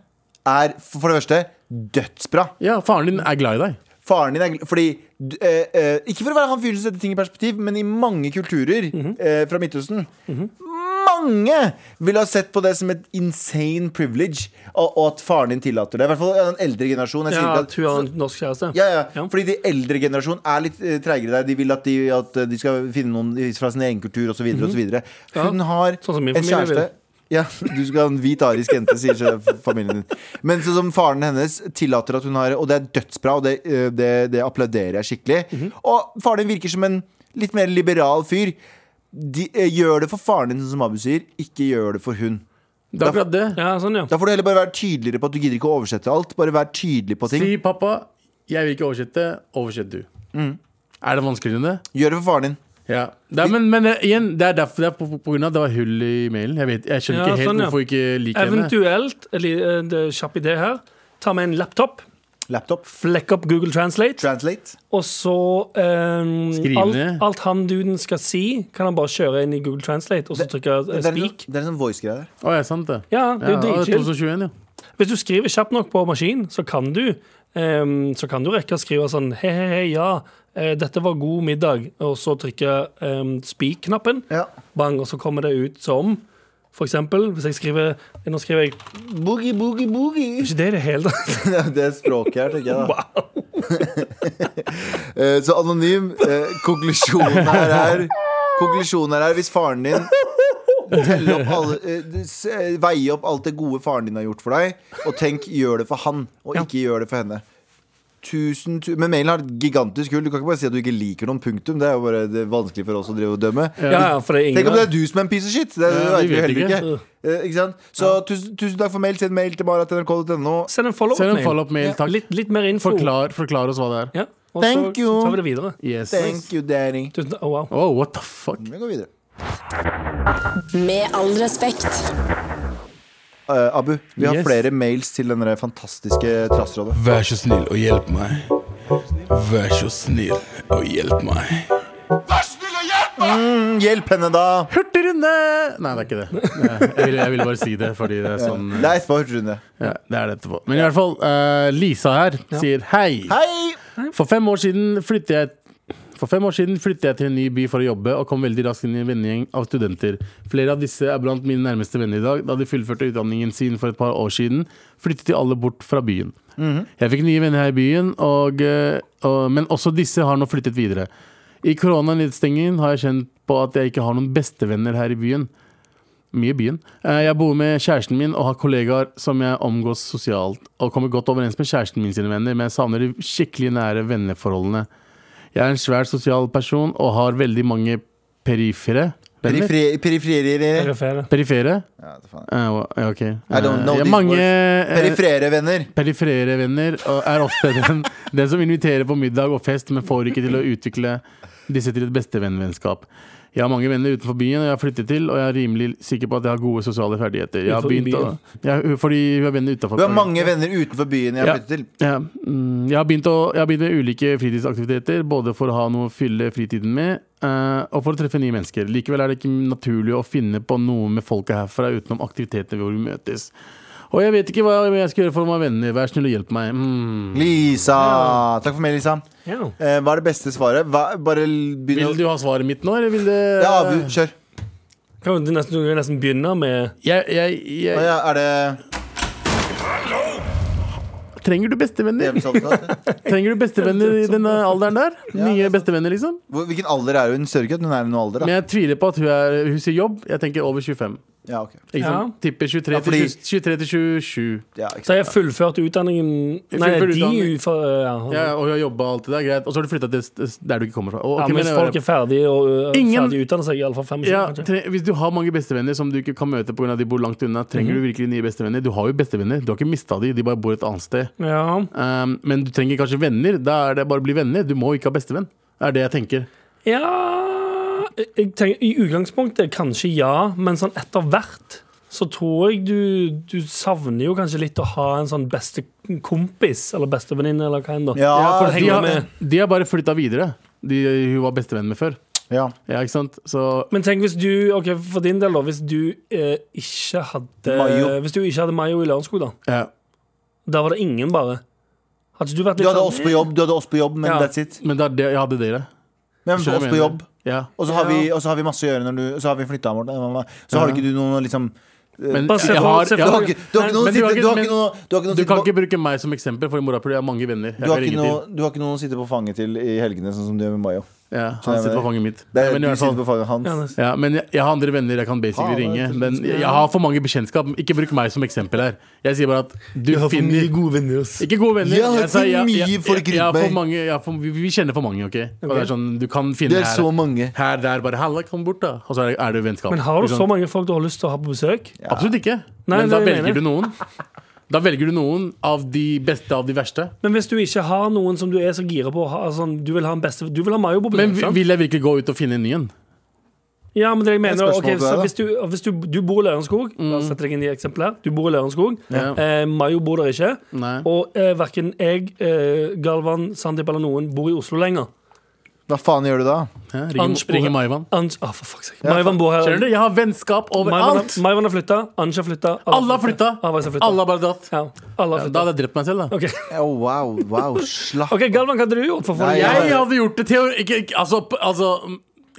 er for det første dødsbra. Ja, faren din er glad i deg. Faren din er gl- Fordi du- eh, eh, Ikke for å være han fyren som setter ting i perspektiv, men i mange kulturer eh, fra Midtøsten Mange ville ha sett på det som et insane privilege, og, og at faren din tillater det. I hvert fall den eldre generasjon. Jeg sier Ja, ikke at hun har en norsk kjæreste. ja, ja. Ja. Fordi de eldre generasjonen er litt eh, treigere der. De vil at de, at eh, de skal finne noen fra sin egen kultur osv. videre og så videre. Hun har Mhm. Sånn som min en familie vil. kjæreste ja, Du skal ha en hvit arisk jente, sier sjef- familien din. Men sånn som faren hennes tillater at hun har Og det er dødsbra, og det, eh, det, det applauderer jeg skikkelig. Mhm. Og faren din virker som en litt mer liberal fyr. De, eh, gjør det for faren din, sånn som Abu sier. Ikke gjør det for hun. Det er akkurat det. Ja, sånn, ja. Da får du heller bare være tydeligere på at du gidder ikke å oversette alt. Bare vær tydelig på ting. Si pappa, jeg vil ikke oversette. Oversett du. Er det vanskeligere enn det? Gjør det for faren din. Ja, det er, men, men eh, igjen, det er derfor det er på, på, på grunn av det var hull i mailen. Jeg, vet, jeg skjønner Ja, ikke helt sånn, ja. hvorfor jeg ikke liker henne. Eventuelt, eller eh, det er en kjapp idé her, ta med en laptop, Laptop. flekk opp Google Translate, Translate. og så eh, Skriv alt, ned. alt han duden skal si, kan han bare kjøre inn i Google Translate, og så trykke eh, Det er en, speak. det er en sånn voice-greie der. Å, ja, sant det. Ja, det er jo Ja, å, dritchill. 2021, ja. Hvis du skriver kjapt nok på maskin, så kan du ehm, Så kan du rekke å skrive sånn Hei, hei, hei, ja, eh, dette var god middag Og så trykke um, speak-knappen Ja. Bang, og så kommer det ut som For eksempel, hvis jeg skriver Nå skriver jeg Ikke Boogie, boogie, boogie. det i det hele tatt Det er det språket her, tenker jeg da. Eh, Så anonym. eh, Konklusjonen her er Konklusjonen her er hvis faren din Telle opp alle, eh, s- eh, veie opp alt det gode faren din har gjort for deg, og tenk gjør det for han, og ikke gjør det for henne. Tusen, tu Men mailen har et gigantisk hull. Du kan ikke bare si at du ikke liker noen punktum. Det er jo bare det er vanskelig for oss å drive og dømme. Ja, ja, for det er Tenk om det er ingen du som er en piece of shit! Det, det Ja, vi vet vi vet heller ikke. ikke. Eh, ikke sant? Så tusen, tusen takk for mail. Send mail til mara.nrk.no. Send en follow-up Send en mail. follow-up-mail, takk. litt, litt mer info Forklar, forklar oss hva det er. ja, og Thank så, you. så tar vi det videre Yes. Thank you, Danny. Tusen takk, oh, wow Oh, what the fuck? Vi går videre. Med all respekt. Eh, Abu, vi har Yes. flere mails til den der fantastiske trassrådet. Vær så snill og hjelp meg. Vær så snill og hjelp meg. Mm, hjelp henne, da! Hurtigrunde! Nei, det er ikke det. Ja, Jeg ville, jeg ville bare si det, fordi det er sånn Det er etterpå hurtigrunde. ja, Det er det etterpå. Men i hvert fall, eh, Lisa her sier hei. Hei! For fem år siden flyttet jeg for fem år siden flyttet jeg til en ny by for å jobbe og kom veldig raskt inn i en vennegjeng av studenter. Flere av disse er blant mine nærmeste venner i dag. Da de fullførte utdanningen sin for et par år siden, flyttet de alle bort fra byen. Jeg fikk nye venner her i byen, og, eh, og, men også disse har nå flyttet videre. I koronanedstengingen har jeg kjent på at jeg ikke har noen bestevenner her i byen. Mye i byen. Eh, Jeg bor med kjæresten min og har kollegaer som jeg omgås sosialt, og kommer godt overens med kjæresten min sine venner, men jeg savner de skikkelig nære venneforholdene. Jeg er en svær sosial person og har veldig mange perifere venner. Periferi- Periferier Perifere Perifere? Ja, det faen. Eh, hva- ja, ok. Eh, don't know jeg har these mange words. eh, Perifere venner. perifere venner og er ofte den, den som inviterer på middag og fest, men får ikke til å utvikle disse til et bestevennvennskap. Jeg har mange venner utenfor byen, og jeg har flyttet til, og jeg er rimelig sikker på at jeg har gode sosiale ferdigheter. Jeg har Utenfor begynt å, byen? jeg, fordi hun har venner utenfor Du har mange venner utenfor byen jeg har Ja. flyttet til. Ja, mm, jeg, har begynt å, jeg har begynt med ulike fritidsaktiviteter, både for å ha noe å fylle fritiden med, eh, og for å treffe nye mennesker. Likevel er det ikke naturlig å finne på noe med folka herfra utenom aktiviteter hvor vi møtes. Og jeg vet ikke hva jeg skal gjøre for å ha venner. Vær snill og hjelp meg. Mm. Lisa! Takk for meg, Lisa. Ja. Eh, hva er det beste svaret? Hva, bare l- begynn å Vil du ha svaret mitt nå, eller vil det Ja, Abu, kjør. Kan du nesten, du kan nesten begynne med Jeg, jeg, Å jeg, Ja, er det trenger du bestevenner? Hvor- Trenger du bestevenner i den alderen der? Nye bestevenner, liksom? Hvilken alder er hun? Hun Ser ikke at hun er i noen alder, da. Men jeg tviler på at hun, er, hun sier jobb. Jeg tenker over 25. Ja, ok. Ikke sant? Tipper 23 Ja, fordi- til 20 23 til 27. Ja, Så ikke sant. jeg fullførte utdanningen Nei, Fullført de utdanning. ufa... Ja, Ja, og hun har jobba alt det der, greit. Og så har du flytta til s- der du ikke kommer fra. Og, ja, ok, men mens jeg- folk er ferdige og ø, Ingen- ferdig utdanner seg, iallfall 25, ja, kanskje. tre, hvis du har mange bestevenner som du ikke kan møte pga. de bor langt unna, trenger Mhm. du virkelig nye bestevenner? Du har jo bestevenner, du har ikke mista de, de bare bor et annet sted. Ja. Um, men du trenger kanskje venner. Da er det bare å bli venner. Du må ikke ha bestevenn. Det er det jeg tenker. ja jeg tenker, I utgangspunktet kanskje ja, men sånn etter hvert så tror jeg du, du savner jo kanskje litt å ha en sånn beste kompis eller bestevenninne eller hva enn. da. Ja, for å de henge De har, med. de har bare flytta videre, de hun var bestevenn med før. Ja. Ja, ikke sant? Så Men tenk hvis du, ok, for din del da, hvis du eh, ikke hadde Mayo. Hvis du ikke hadde Mayo i Lørenskog, da. ja. Der var det ingen, bare. Hadde ikke du vært Du litt sånn- hadde oss på jobb, du hadde oss på jobb, men Ja. that's it. Men da, det, sånn- jeg hadde dere. Men Skjønner oss jeg på mener. jobb. Ja. Og så har, vi, og så har vi masse å gjøre når du Så har vi flytta, Morten. Så har du ikke du noen å liksom Men Bare se jeg for- har, se jeg Du for- har har ikke du har ikke noen å men du har sitte- ikke- du har ikke men- noe- du har ikke noen å Du sitte kan på- ikke bruke meg som eksempel, for i morapuler har mange venner. Jeg du har kan ikke ringe noe- til. du har ikke noen å sitte på fanget til i helgene, sånn som du gjør med Mayo. Ja, jeg han sitter på mener. fanget mitt. Det er, men i du hvert fall- sitter på fanget Ja, hans. det- ja, men jeg, jeg har andre venner jeg kan basically Faen, ringe. det er Men jeg, jeg har for mange bekjentskap. Ikke bruk meg som eksempel her. Jeg sier bare at du finner gode venner, ass. Ikke gode venner. Jeg har sa- for mye folk jeg, jeg, har rundt meg. for mange, jeg har for, vi, vi kjenner for mange, OK? Og det er sånn, du kan finne Det er så her, mange. her, der, bare Halla, kom bort, da. Og så er det, er det vennskap. Men har du Ikke sant? så mange folk du har lyst til å ha på besøk? Absolutt ikke. Nei, det men da er det jeg mener. velger du noen. Da velger du noen av de beste av de verste. Men hvis du ikke har noen som du er så gira på å ha, altså, Du vil ha en beste Du vil ha Mayo på Men besøk, vi- sant? vil jeg virkelig gå ut og finne en ny en? Ja, men det jeg mener Et spørsmål ok, til deg, så da. Hvis, du, hvis du, du bor i Lørenskog La oss sette deg inn i eksempel her Du bor i Lørenskog Ja. eh, Mayo bor der ikke Nei. Og eh, hverken jeg, eh, Galvan, Sandeep eller noen Bor i Oslo lenger Hva faen gjør du da? Hæ? Anspore- Ringe Maivan. Ans ah, for fuck's sake Maivan bor her Skjønner du? Jeg har vennskap Maivan har- overalt! Maivan har flyttet Ansh har flyttet Alle har flytta! Alle har flyttet Alle har bare dratt. ja, alle Ja, har Da flyttet hadde jeg drept meg selv, da. Ok, Oh, wow, wow, slapp Ok, Galvan, hva hadde du gjort for å få Nei, det? Jeg hadde gjort det teori... Ikke, ikke, altså, p- altså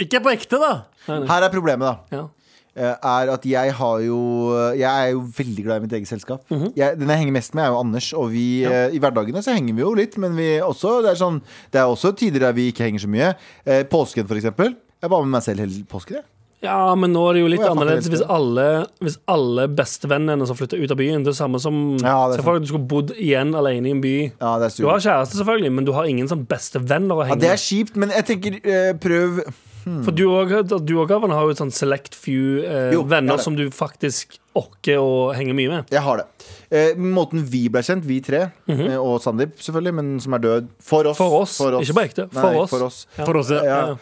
Ikke på ekte, da. Her er problemet, da. Ja. Eh, Er at jeg har jo eh, Jeg er jo veldig glad i mitt eget selskap. Mhm. jeg, den jeg henger mest med, er jo Anders. Og vi eh, i hverdagene så henger vi jo litt, men vi også Det er, sånn, det er også tider der vi ikke henger så mye. Eh, påsken, for eksempel. Jeg var med meg selv hele påsken, jeg. Ja, men nå er det jo litt Å, jeg fatter annerledes helt hvis det. alle, hvis alle bestevennene som flytter ut av byen. Det er samme som Ja, det er Se for deg at du skulle bodd igjen alene i en by. Ja, det er Du surt. har kjæreste, selvfølgelig, men du har ingen sånn bestevenner å Ja, henge det er med. kjipt, men jeg tenker eh, prøv For du og, du og Gavan har jo et sånn select few eh, Jo, ja, venner det. som du faktisk orker å henge mye med. Jeg har det. Eh, måten vi ble kjent, vi tre, eh, og Sandeep selvfølgelig, men som er død For oss. Mhm. For oss, ikke på ekte. Nei, For ikke oss. For oss. For oss, ja. Ja.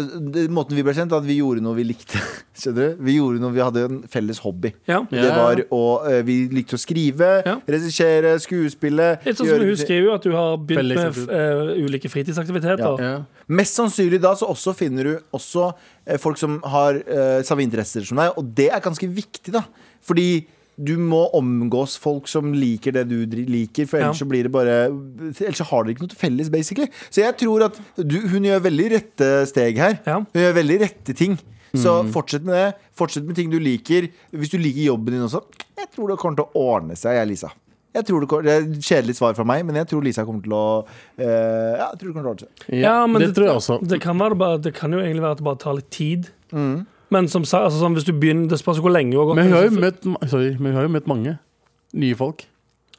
Eh, det- måten vi ble kjent, er at vi gjorde noe vi likte. Skjønner du? Vi gjorde noe vi hadde en felles hobby. Ja. Ja. Det var å, eh, Vi likte å skrive, Ja. regissere, skuespille. Litt sånn som gjøre- hun skriver jo, at du har begynt Felles med f- eh, ulike fritidsaktiviteter. Ja. Mest sannsynlig da så også finner du også eh, folk som har eh, samme interesser som deg, og det er ganske viktig, da. Fordi du må omgås folk som liker det du dri- liker, for ellers Ja. så blir det bare Ellers så har dere ikke noe til felles, basically. Så jeg tror at du, hun gjør veldig rette steg her. Ja. Hun gjør veldig rette ting. Så fortsett med det. Fortsett med ting du liker. Hvis du liker jobben din også, jeg tror det kommer til å ordne seg, jeg, Lisa. Jeg tror det, kommer, det er et Kjedelig svar fra meg, men jeg tror Lisa kommer til å eh, Ja, jeg tror det kommer til å ordne seg. Ja, men det, tror jeg også. Det kan, være, bare- det kan jo egentlig være at det bare tar litt tid. Men som sagt, altså, sånn, hvis du begynner Det spørs hvor lenge hun har gått Men hun med- har jo møtt, ma- sorry, men hun har jo møtt mange nye folk.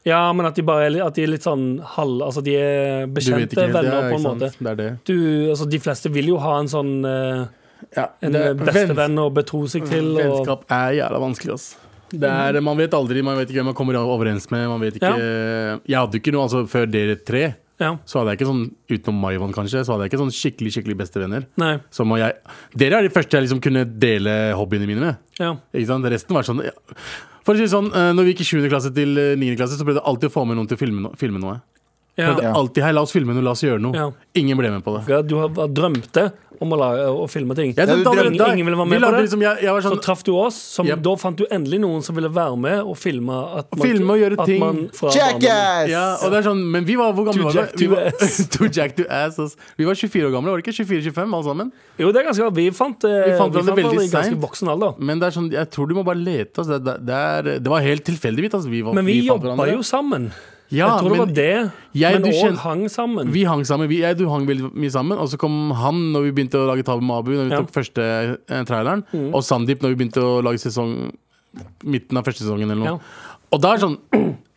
Ja, men at de bare er, li- at de er litt sånn halv... Altså, de er Du vet bekjente ikke helt. venner, Ja, på ikke en sant? måte. Det er det. Du, altså, de fleste vil jo ha en sånn eh, Ja, En det- bestevenn å betro seg til. Og, eh, Vennskap er jævla vanskelig, ass. Det er, man vet aldri, man vet ikke hvem man kommer overens med. Man vet ikke, Jeg hadde jo ikke noe altså, før dere tre. Ja. så hadde jeg ikke sånn utenom Maivan kanskje, så hadde jeg ikke sånn skikkelig skikkelig bestevenner. Nei. Som jeg, dere er de første jeg liksom kunne dele hobbyene mine med. Ja. Ikke sant? Resten var sånn ja. For å si det sånn, eh, når vi gikk i 7. klasse til eh, 9. klasse, så prøvde jeg alltid å få med noen til å filme, no filme noe. ja. Prøvde Ja. alltid, hei, la oss filme noe, la oss gjøre noe. Ja. Ingen ble med på det. Ja, Du har bare drømte om å, lage, å filme ting. Jeg, Ja, tenkte du allerede drømte- da- Ingen ville være med vi på lagde det? Liksom, jeg, jeg var Så sånn, traff du oss, som Yep. da fant du endelig noen som ville være med og filme. At Filme og gjøre at ting. man fra barndommen- Jackass! ja, og det er sånn, men vi var hvor gamle Too var jack vi? to Vi var, ass. too jack to ass ass. Vi var 24 år gamle, var det ikke? 24-25 alle sammen? Jo, det er ganske bra. Vi fant, eh, Vi fant hverandre hverandre i veldig ganske sent. voksen alder. Men det er sånn, jeg tror du må bare lete. Altså. Det, det, det, er, det var helt tilfeldigvis. Altså. Vi, var- Men vi, fant jobba hverandre. jo sammen. Ja, jeg tror det men var det. jeg- men du òg kjen- hang sammen. Vi hang sammen. Vi, jeg, du hang veldig mye sammen. Og så kom han når vi begynte å lage Tabu Mabu, når vi Ja. Mm. tok første eh, traileren. Og Sandeep når vi begynte å lage sesong midten av første sesongen eller Ja. noe. Og da er det sånn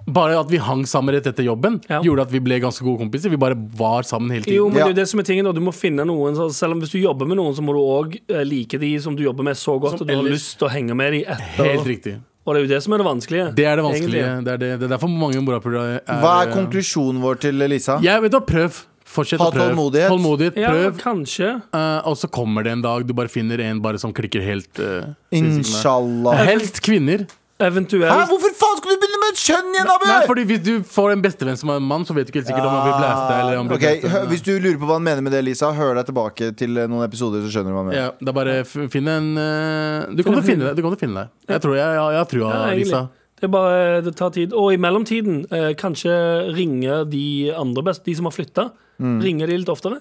bare at vi hang sammen rett etter jobben, Ja. gjorde at vi ble ganske gode kompiser. Vi bare var sammen hele tiden. Jo, men det er jo Ja. det som er tingen, da. du må finne noen så Selv om hvis du jobber med noen, så må du òg like de som du jobber med så godt Som at du har ellers. lyst til å henge med de etter. Helt riktig. Og det er jo det som er det vanskelige. Det er det vanskelige. egentlig. Det er, det, det er derfor mange morapuler er Hva er konklusjonen vår til Lisa? Jeg vet da, prøv. Fortsett Ha å prøve. tålmodighet. Tålmodighet, Ja, prøv. kanskje. eh, og så kommer det en dag du bare finner en bare som klikker helt. eh, Inshallah. helst kvinner. Hæ, Eventuelt. hvorfor faen skal du begynne med et kjønn igjen, Abu? Nei, fordi Hvis du får en bestevenn som er en mann, så vet du ikke helt sikkert om han blir blæsta. Eller om han blir Ah, Ok, blæsta. hø- Hvis du lurer på hva han mener med det, Lisa, hør deg tilbake til eh, noen episoder, så skjønner du hva han mener. ja, det er bare f- finn en eh, Du kommer til å finne deg. Du kommer til å finne deg. Jeg tror jeg, jeg, jeg har trua, Ja, egentlig. Lisa. Det er bare, eh, det tar tid. Og i mellomtiden, eh, kanskje ringe de andre best, de som har flytta. Ringe de litt oftere.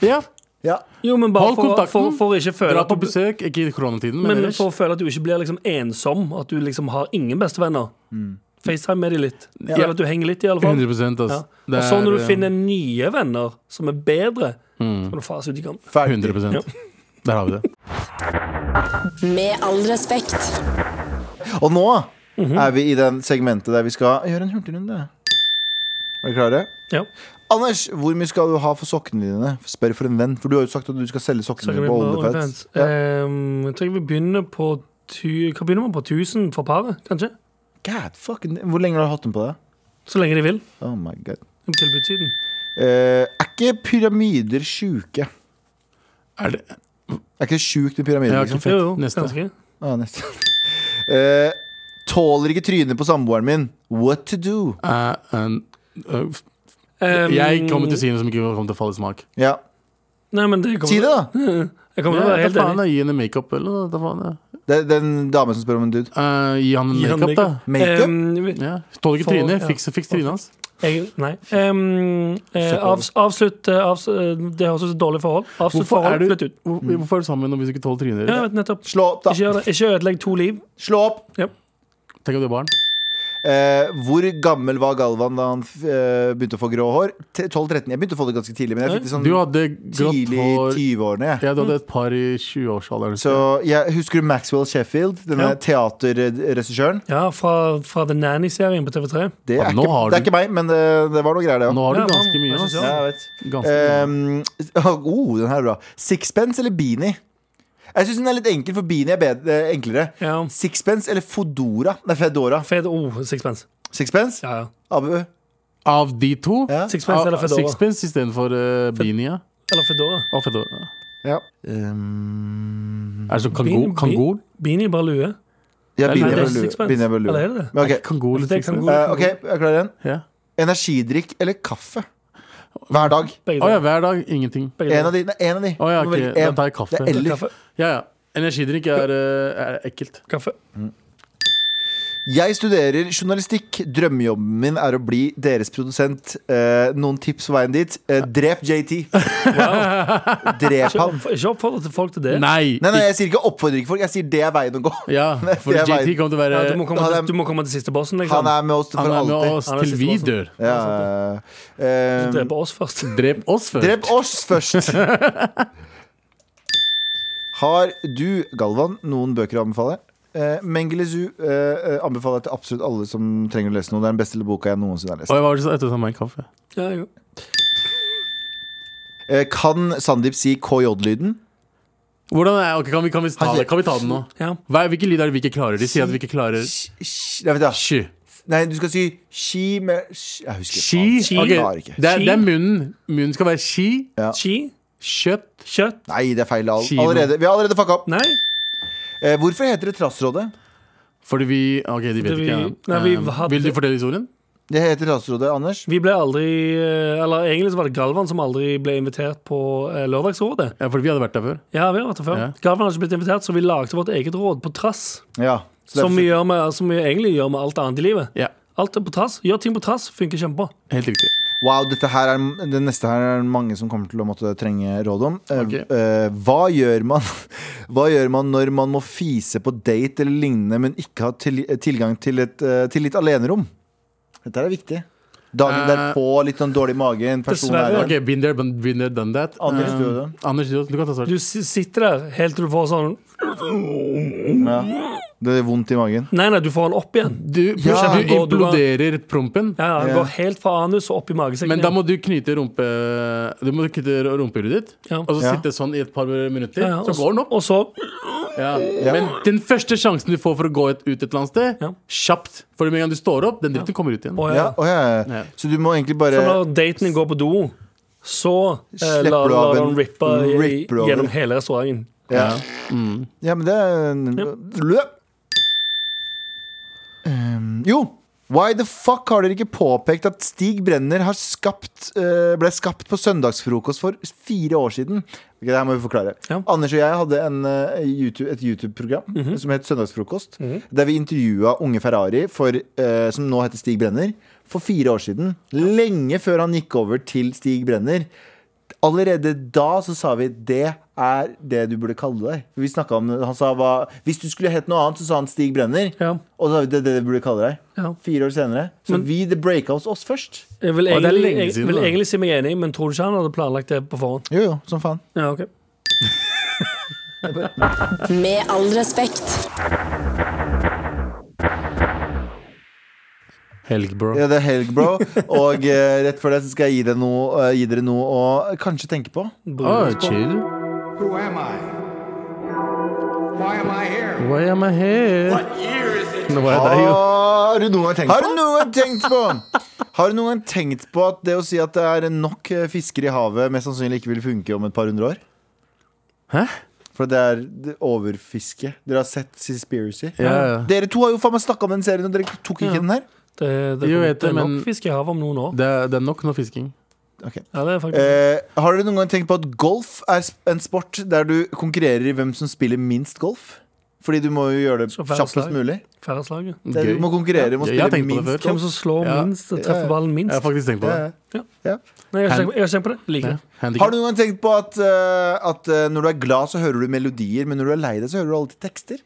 Ja, Ja. Jo, men bare Hold for, kontakten. for, for ikke føle Dra at på du, besøk. Ikke i koronatiden, men, men ellers. for å føle at du ikke blir liksom ensom. At du liksom har ingen bestevenner. Mm. FaceTime med de litt. Eller at du henger litt, i alle fall. 100 altså. Ja. Det Og så når er, Mm. du eh, finner nye venner som er bedre, så kan du fase ut i kamp. Ferdig. 100 Ja. Der har vi det. Med all respekt. Og nå Mhm. er vi i den segmentet der vi skal gjøre en hurtigrunde. Er du klare? Ja. Anders, hvor mye skal du ha for sokkene dine? Spør for en venn, for du har jo sagt at du skal selge Så kan sokkene vi dine på på OnlyFans. OnlyFans. Ja. Ehm, jeg tror jeg vi begynner på tu Hva begynner man på? 1000 for paret, kanskje? God fucking Hvor lenge har du hatt dem på deg? Så lenge de vil. Oh my god. Tilbudssiden. Eh, er ikke pyramider sjuke? Er det Er ikke det sjukt med pyramider, Ja, liksom? Fett. Jo, jo, Neste. ganske. Ah, nesten. Eh, tåler ikke trynet på samboeren min. What to do? eh, en- eh, Ehm, Jeg kommer til å si noe som ikke kommer til å falle i smak. Ja, Nei, men det kommer, Si det, da! Jeg kommer til å Ja, være helt ta faen, enig. da, gi henne makeup, eller da faen. Ja. Det er den damen som spør om en dude. Eh, gi han Gi han makeup, da. Makeup? Ehm, vi- Ja. Tåler ikke For- trynet. ja. Fiks, fiks trynet hans. jeg, nei. Ehm, eh, avs, avslutt eh, avs, eh, Det høres ut som et dårlig forhold. Avslutt Hvorfor forhold, er du, flytt ut. hvor- hvorfor er du sammen med noen hvis du ikke tåler trynet? Mm. Ja, ditt? vet, nettopp. Slå opp, Ikke da. gjør det. Ikke ødelegg to liv. Slå opp! Tenk at du er barn. Eh, hvor gammel var Galvan da han f- eh, begynte å få grå hår? T- 12-13. Jeg begynte å få det ganske tidlig, men jeg fikk det sånn Du hadde grått tidlig i hår. 20-årene. jeg. Ja, du hadde et par i 20-årsalderen. Så jeg Husker du Maxwell Sheffield, denne Ja. teaterregissøren? Ja, fra, fra The Nanny-serien på TV3. Det, Ja, er nå ikke- har det er du- ikke meg, men det, det var noe greier, det Nå òg. har du Ja, ganske faen, mye. jeg ass. synes Ja, jeg vet. Ganske mye. Um, oh, den her er bra. Sixpence eller beanie? Jeg syns den er litt enkel, for beanie er bedre, eh, enklere. Ja. Sixpence eller Fodora? Nei, Fedora. Fed oh, sixpence. Sixpence? Ja, ja. Abu? Av de to Ja. Sixpence eller av- Fedora. Sixpence istedenfor uh, beanie. ja. Eller Fedora. Og Fedora. Ja. Um, Er det sånn Beanie- kango- kangol? Beanie, bare lue. ja, Nei, beanie det er er vel lue. Sixpence. Beanie er vel Eller lue. er det det? Men ok, Kangol eller Det er Sixpence? kangol. eh, ok, jeg klarer den. Ja. Energidrikk eller kaffe? Hver dag. Begge Å ja, deler. hver dag. Ingenting. Begge En av deler. de. Nei, en av de. Å ja, Du må ok. velge Da en. tar jeg kaffe. Det er eller. Kaffe. Ja, ja. Energidrikk er, eh, er ekkelt. Kaffe. Jeg studerer journalistikk. Drømmejobben min er å bli deres produsent. Eh, noen tips på veien dit? Eh, drep JT. Drep Ikke ham. oppf- Ikke oppfordre til folk til det. Nei! Nei, nei, jeg sier ikke oppfordrer ikke folk. Jeg sier det er veien å gå. ikke- Ja, for Det er JT veien. kommer til å være Ja, du, må komme Han til, er- du må komme til siste bossen, liksom. Han er med oss for Han er med alltid. oss Han er til vi siste dør. Ja, eh, Drepe oss først. Drep oss først. drep Eh, oss først. Har du, Galvan, noen bøker å anbefale? Eh, Mengele Zoo eh, eh, anbefaler jeg til absolutt alle som trenger å lese noe. Det er den beste boka jeg noensinne har lest. Og jeg var så etter å ta meg en kaffe. Ja, jo. Eh, kan Sandeep si KJ-lyden? Hvordan er, ok, kan, vi, kan, vi ta det? kan vi ta den nå? ja. Hva, er- hvilken lyd er det vi ikke klarer? De sier at vi ikke klarer Sj- sj- Jeg vet ikke. Sky. Nei, du skal si ski med ski. Jeg husker Ski. faen. Ok, Jeg klarer ikke. Det, er, det er Ski. munnen. Munnen skal være ski, Ski, kjøtt, kjøtt Nei, det er feil. All, Kino. allerede, vi har allerede fucka opp. Nei, Eh, hvorfor heter det Trassrådet? fordi vi Ok, de vet Det vi- ikke. nei, vi Um, hadde- Vil du fortelle historien? Det heter Trassrådet, Anders. vi ble aldri eh, Eller egentlig så var det Galvan som aldri ble invitert på eh, Lørdagsrådet. Ja, fordi vi hadde vært der før. Ja, vi har vært der før. Ja. Galvan har ikke blitt invitert, så vi lagde vårt eget råd på trass. Ja, så Som derfor- vi, gjør med, som vi egentlig gjør med alt annet i livet. Ja, Alt er på trass. Gjør ting på trass, funker kjempebra. Helt riktig. Wow, dette her er, det neste her er mange som kommer til å måtte trenge råd om. Eh, Ok. eh, hva, gjør man, hva gjør man når man må fise på date eller lignende, men ikke har til, tilgang til, et, eh, til litt alenerom? Dette her er viktig. Dagen Eh, derpå, litt sånn dårlig mage, en person dessverre. er Ok, been there, been been there, done that. Anders, Um, du gjør det. Anders, du, du kan ta Du svart. s- sitter der helt til du får sånn ja. Det er vondt i magen. Nei, nei, du får den opp igjen. Du, Ja, du gå, du imploderer prompen. Ja, ja, Den Ja. går helt fra anus og opp i magesekken. Men da må du knyte rumpe Du må knyte rumpehullet ditt, Ja. og så Ja. sitte sånn i et par minutter. Ja, ja, så og s- går den opp. Og så Ja. Men den første sjansen du får for å gå et, ut et eller annet sted, Ja. kjapt. For med en gang du står opp, den dritten kommer ut igjen. å, ja. Ja, å, ja, ja. Ja. Så du må egentlig Så bare når daten din går på do, så eh, Slipper lar du lar av den en- rippe i- ripper over. gjennom hele restauranten. Ja, Mm. ja men det er Løp! Um, jo! Why the fuck har dere ikke påpekt at Stig Brenner har skapt, eh, ble skapt på søndagsfrokost for fire år siden? Ok, det her må vi forklare. Ja. Anders og jeg hadde en, eh, YouTube, et YouTube-program som het Søndagsfrokost. Der vi intervjua unge Ferrari, for, eh, som nå heter Stig Brenner, for fire år siden. Lenge før han gikk over til Stig Brenner. Allerede da så sa vi det er det du burde kalle deg. For Vi snakket om, han sa hva, Hvis du skulle hett noe annet, så sa han Stig Brenner. Ja. Og så sa vi det er det du burde kalle deg. Ja. Fire år senere. Så vi det breaka hos oss først. Jeg vil det er egentlig, lenge jeg, siden, vil da. egentlig si meg enig, men tror du ikke han hadde planlagt det på forhånd? Jo, jo, som faen. Ja, ok Med all respekt. Helg, bro. Ja, det er helg, bro. Og eh, rett før det så skal jeg gi, deg noe, eh, gi dere noe å kanskje tenke på. Å, chill. Who am I? Why am I here? Why am I here? Nå var det deg, Ah. jo. Har Ah, du noen gang Har du noen gang tenkt på Har du noen gang tenkt på at det å si at det er nok eh, fisker i havet, mest sannsynlig ikke vil funke om et par hundre år? Hæ? For det er det overfiske. Dere har sett Seaspiracy. Ja, ja. Dere to har jo faen meg snakka om den serien, og dere tok ikke den her. Det, det, Jo, jeg vet det det, er nok men- fisk i havet om noen år. Det, er- det er nok nå fisking. Ok. Ja, det er faktisk Eh, har dere noen gang tenkt på at golf er sp- en sport der du konkurrerer i hvem som spiller minst golf? Fordi du må jo gjøre det Så færre kjappest slag. mulig. færreslaget. Det, er- Gøy. du må konkurrere om å Ja, jeg har spille tenkt på det minst før. Hvem som slår Ja. minst, treffer ballen minst. Jeg har faktisk tenkt på det. Ja, ja. Ja. Nei, jeg har ikke tenkt- jeg har ikke tenkt på det. Jeg Liker Ja. det. Har Handicap. du noen gang tenkt på at, eh, at eh, når du er glad, så hører du melodier, men når du er lei deg, så hører du alltid tekster?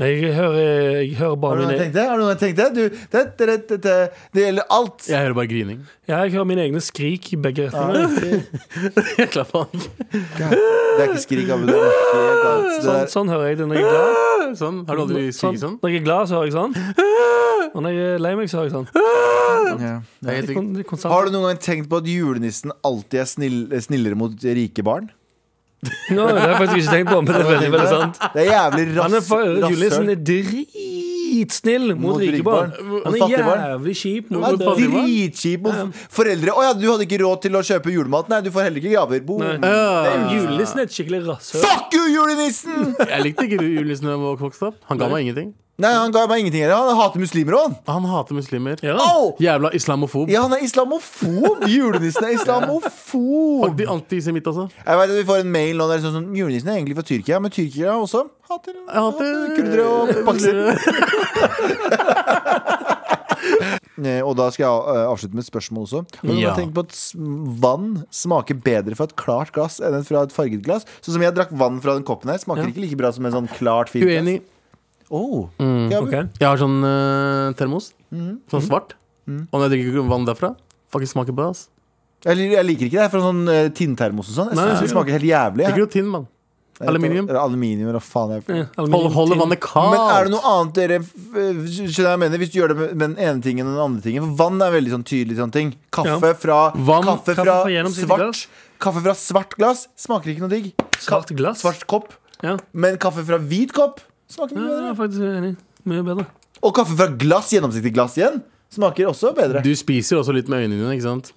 Jeg hører, jeg hører Har bare du noen mine gang tenkt det? Har du noen gang tenkt det? Du, det, det, det, det, det gjelder alt. Jeg hører bare grining. Ja, jeg hører mine egne skrik i begge retninger. Det Jeg klapper han. er ikke skrik, Abu. Det er helt annet. Det Sånn, er- sånn hører jeg det når jeg er glad. Ah! Sånn. Har du aldri Sånn, skriket sånn? når jeg er glad, så hører jeg sånn. Og når jeg er lei meg, så hører jeg sånn. Ja. Det er helt Det er sikkert. kon- det er konstant. Har du noen gang tenkt på at julenissen alltid er snill, snillere mot rike barn? Nå, det har jeg faktisk ikke tenkt på, men det er veldig, veldig sant. Det er jævlig rass- Han er for, rasshøl. Juliussen er dritsnill mot Mot rike rike barn. barn. Han er Mot fattige barn. jævlig kjip mot Han er fattige barn. dritkjip mot foreldre. 'Å ja, du hadde ikke råd til å kjøpe julemat.' Nei, du får heller ikke gaver. Boom. Nei, Julenissen er et skikkelig rasshøl. Fuck you, julenissen! Jeg likte ikke julenissen da jeg var- vokste opp. Han ga meg ingenting. Nei, han ga meg ingenting heller. Han hater muslimer òg, han. Han hater muslimer. Ja. Au! Jævla islamofob. Ja, han er islamofob! Julenissen er islamofob! Anti- Antisemitt, altså. Jeg vet at Vi får en mail nå der det er sånn, sånn Julenissen er egentlig fra Tyrkia, men tyrkere også hater hater- kurdere og pakistanere. Eh, Og da skal jeg eh, avslutte med et spørsmål også. Når Ja. man tenker på at s- vann smaker bedre fra et klart glass enn fra et farget glass Sånn som jeg drakk vann fra den koppen her, smaker ikke like bra som en sånn klart, fint glass. Uenig. Oh. Ja, men- Ok. Jeg har sånn eh, termos. Mm. Sånn svart. Og når jeg drikker vann derfra Faktisk smaker bra. ass jeg, lik- jeg liker ikke det her fra sånn eh, tinntermos og sånn. Jeg Nei, synes det smaker helt jævlig. Det er jeg. ikke noe tinn, mann. Aluminium. Eller Aluminium, eller hva faen jeg Ja, Hold, aluminium, holder tin. vannet kaldt. Men er det noe annet dere f- Skjønner jeg hva jeg mener Hvis du gjør det med med den ene tingen og den andre tingen For vann er veldig sånn tydelig sånn ting Kaffe Ja. fra, Vann, kaffe kaffe fra fra gjennomsiktig svart glass. Kaffe fra svart glass Smaker ikke noe digg Ka- Svart glass? Svart kopp Ja, Men kaffe fra hvit kopp Smaker ja mye jeg bedre er faktisk enig. Mye bedre. Og kaffe fra glass, gjennomsiktig glass igjen, smaker også bedre. Du spiser også litt med øynene dine, ikke sant?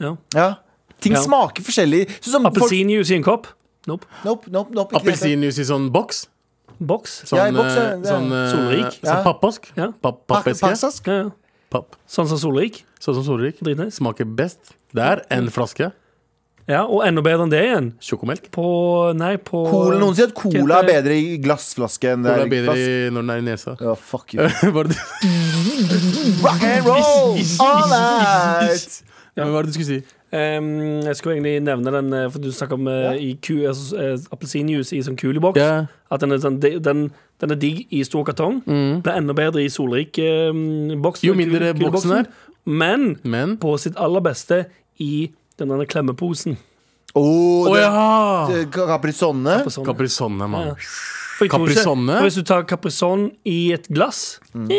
Ja. Ja. Ting Ja. smaker forskjellig. Sånn som folk- Appelsinjuice i en kopp? Nope. Nope, nope, nope, ikke det. Appelsinjuice i sånn boks? Boks? Sånn, Ja, i boks, ja, eh, det er- sånn, eh, Solrik. Ja. Sånn pappask? Ja. Papp, Pak- pappeske? paksask. Ja, ja. Papp. Sånn som Solrik? Sånn som solrik. Dritnice. Smaker best der enn flaske. Ja, og enda bedre enn det igjen. Sjokomelk. På Nei, på Cola, noen sier at cola er Kjente- bedre i glassflaske enn det Hvor er er i bedre glass. i- når den er i nesa? Ja, fuck you. Hva er det Rock and roll all night! ja. men hva er det du skulle si? Ehm, Jeg skulle egentlig nevne den, eh, for du snakka om eh, i ku- altså, eh, appelsinjuice i sånn kuliboks. Ja. At den er, sånn, de- den, den er digg i stor kartong. Blir enda bedre i solrik-boks. Mm. Jo mindre boksen er. Men Men på sitt aller beste i den denne klemmeposen. Oh, Å det- ja! det- Caprisonne. På sånn. Caprisonne, mann. For jeg tror ikke- Caprisonne? for Hvis du tar Caprisonne i et glass eh,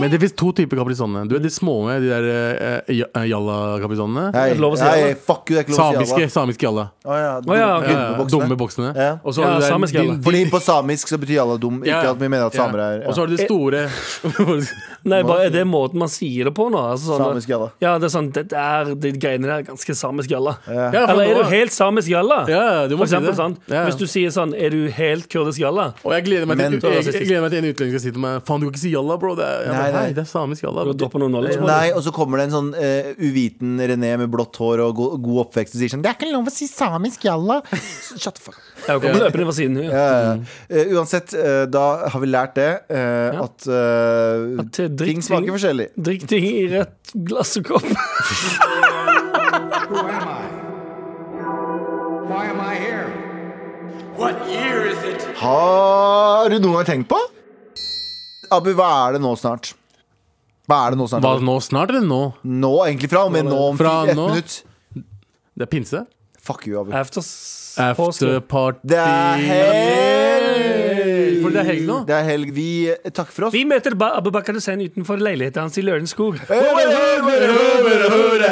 Men det fins to typer caprisonne. Du er de små, de der eh, ja- eh, jalla-caprisonnene. Hei, det er lov å si hei, alle. fuck you, det er ikke lov å si Samiske, alle. samiske jalla. Å ja, Å ja, ok. dumme Ja, boksene. Dumme boksene. Ja. Og så Ja, har du der samiske din- jalla. Fordi på samisk så betyr alle dum. Ikke Ja. at vi mener at Ja. samer er Og ja. så har du Eh, det store Nei, bare er det måten man sier det på nå? Altså, sånn, Samisk jalla. Ja, det er sånn, det der, de greiene der er ganske samisk jalla. Ja, for Eller er nå- du helt samisk jalla? Ja, du For må si eksempel, det. sant? Ja. Hvis du sier sånn, er du helt kurdisk jalla? Og jeg gleder meg til, Men- jeg, jeg gleder meg til en utlending skal si til meg Faen, du kan ikke si jalla, bro. Det er, jeg Nei, bare, nei. Hei, det er samisk jalla. Du dropper noen knowledge, må Nei, og så kommer det en sånn eh, uviten René med blått hår og go god oppvekst og sier sånn Det er ikke lov å si samisk jalla. Shut the fuck up. du. Jeg kommer løpende fra siden. Ja. Ja, ja. Eh, uansett, eh, da har vi lært det. eh, Ja. At, eh, At, eh, drikk ting smaker ting- forskjellig. Drikk ting i rett glass og kopp. Who am I? Why am I here? Har du noen gang tenkt på? Abu, hva er det nå snart? Hva er det nå snart? Hva Abu? nå? Snart eller nå? Nå egentlig fra, men nå om Fra ett nå? minutt. Det er pinse. Fuck you, Abu. Afters påske. Afterparty Det er helg! For det er helg nå? Det er helg. Vi eh, takker for oss. Vi møter Ba- Abubakar Hussein utenfor leiligheten hans i Lørenskog. Høre, høre, høre, høre.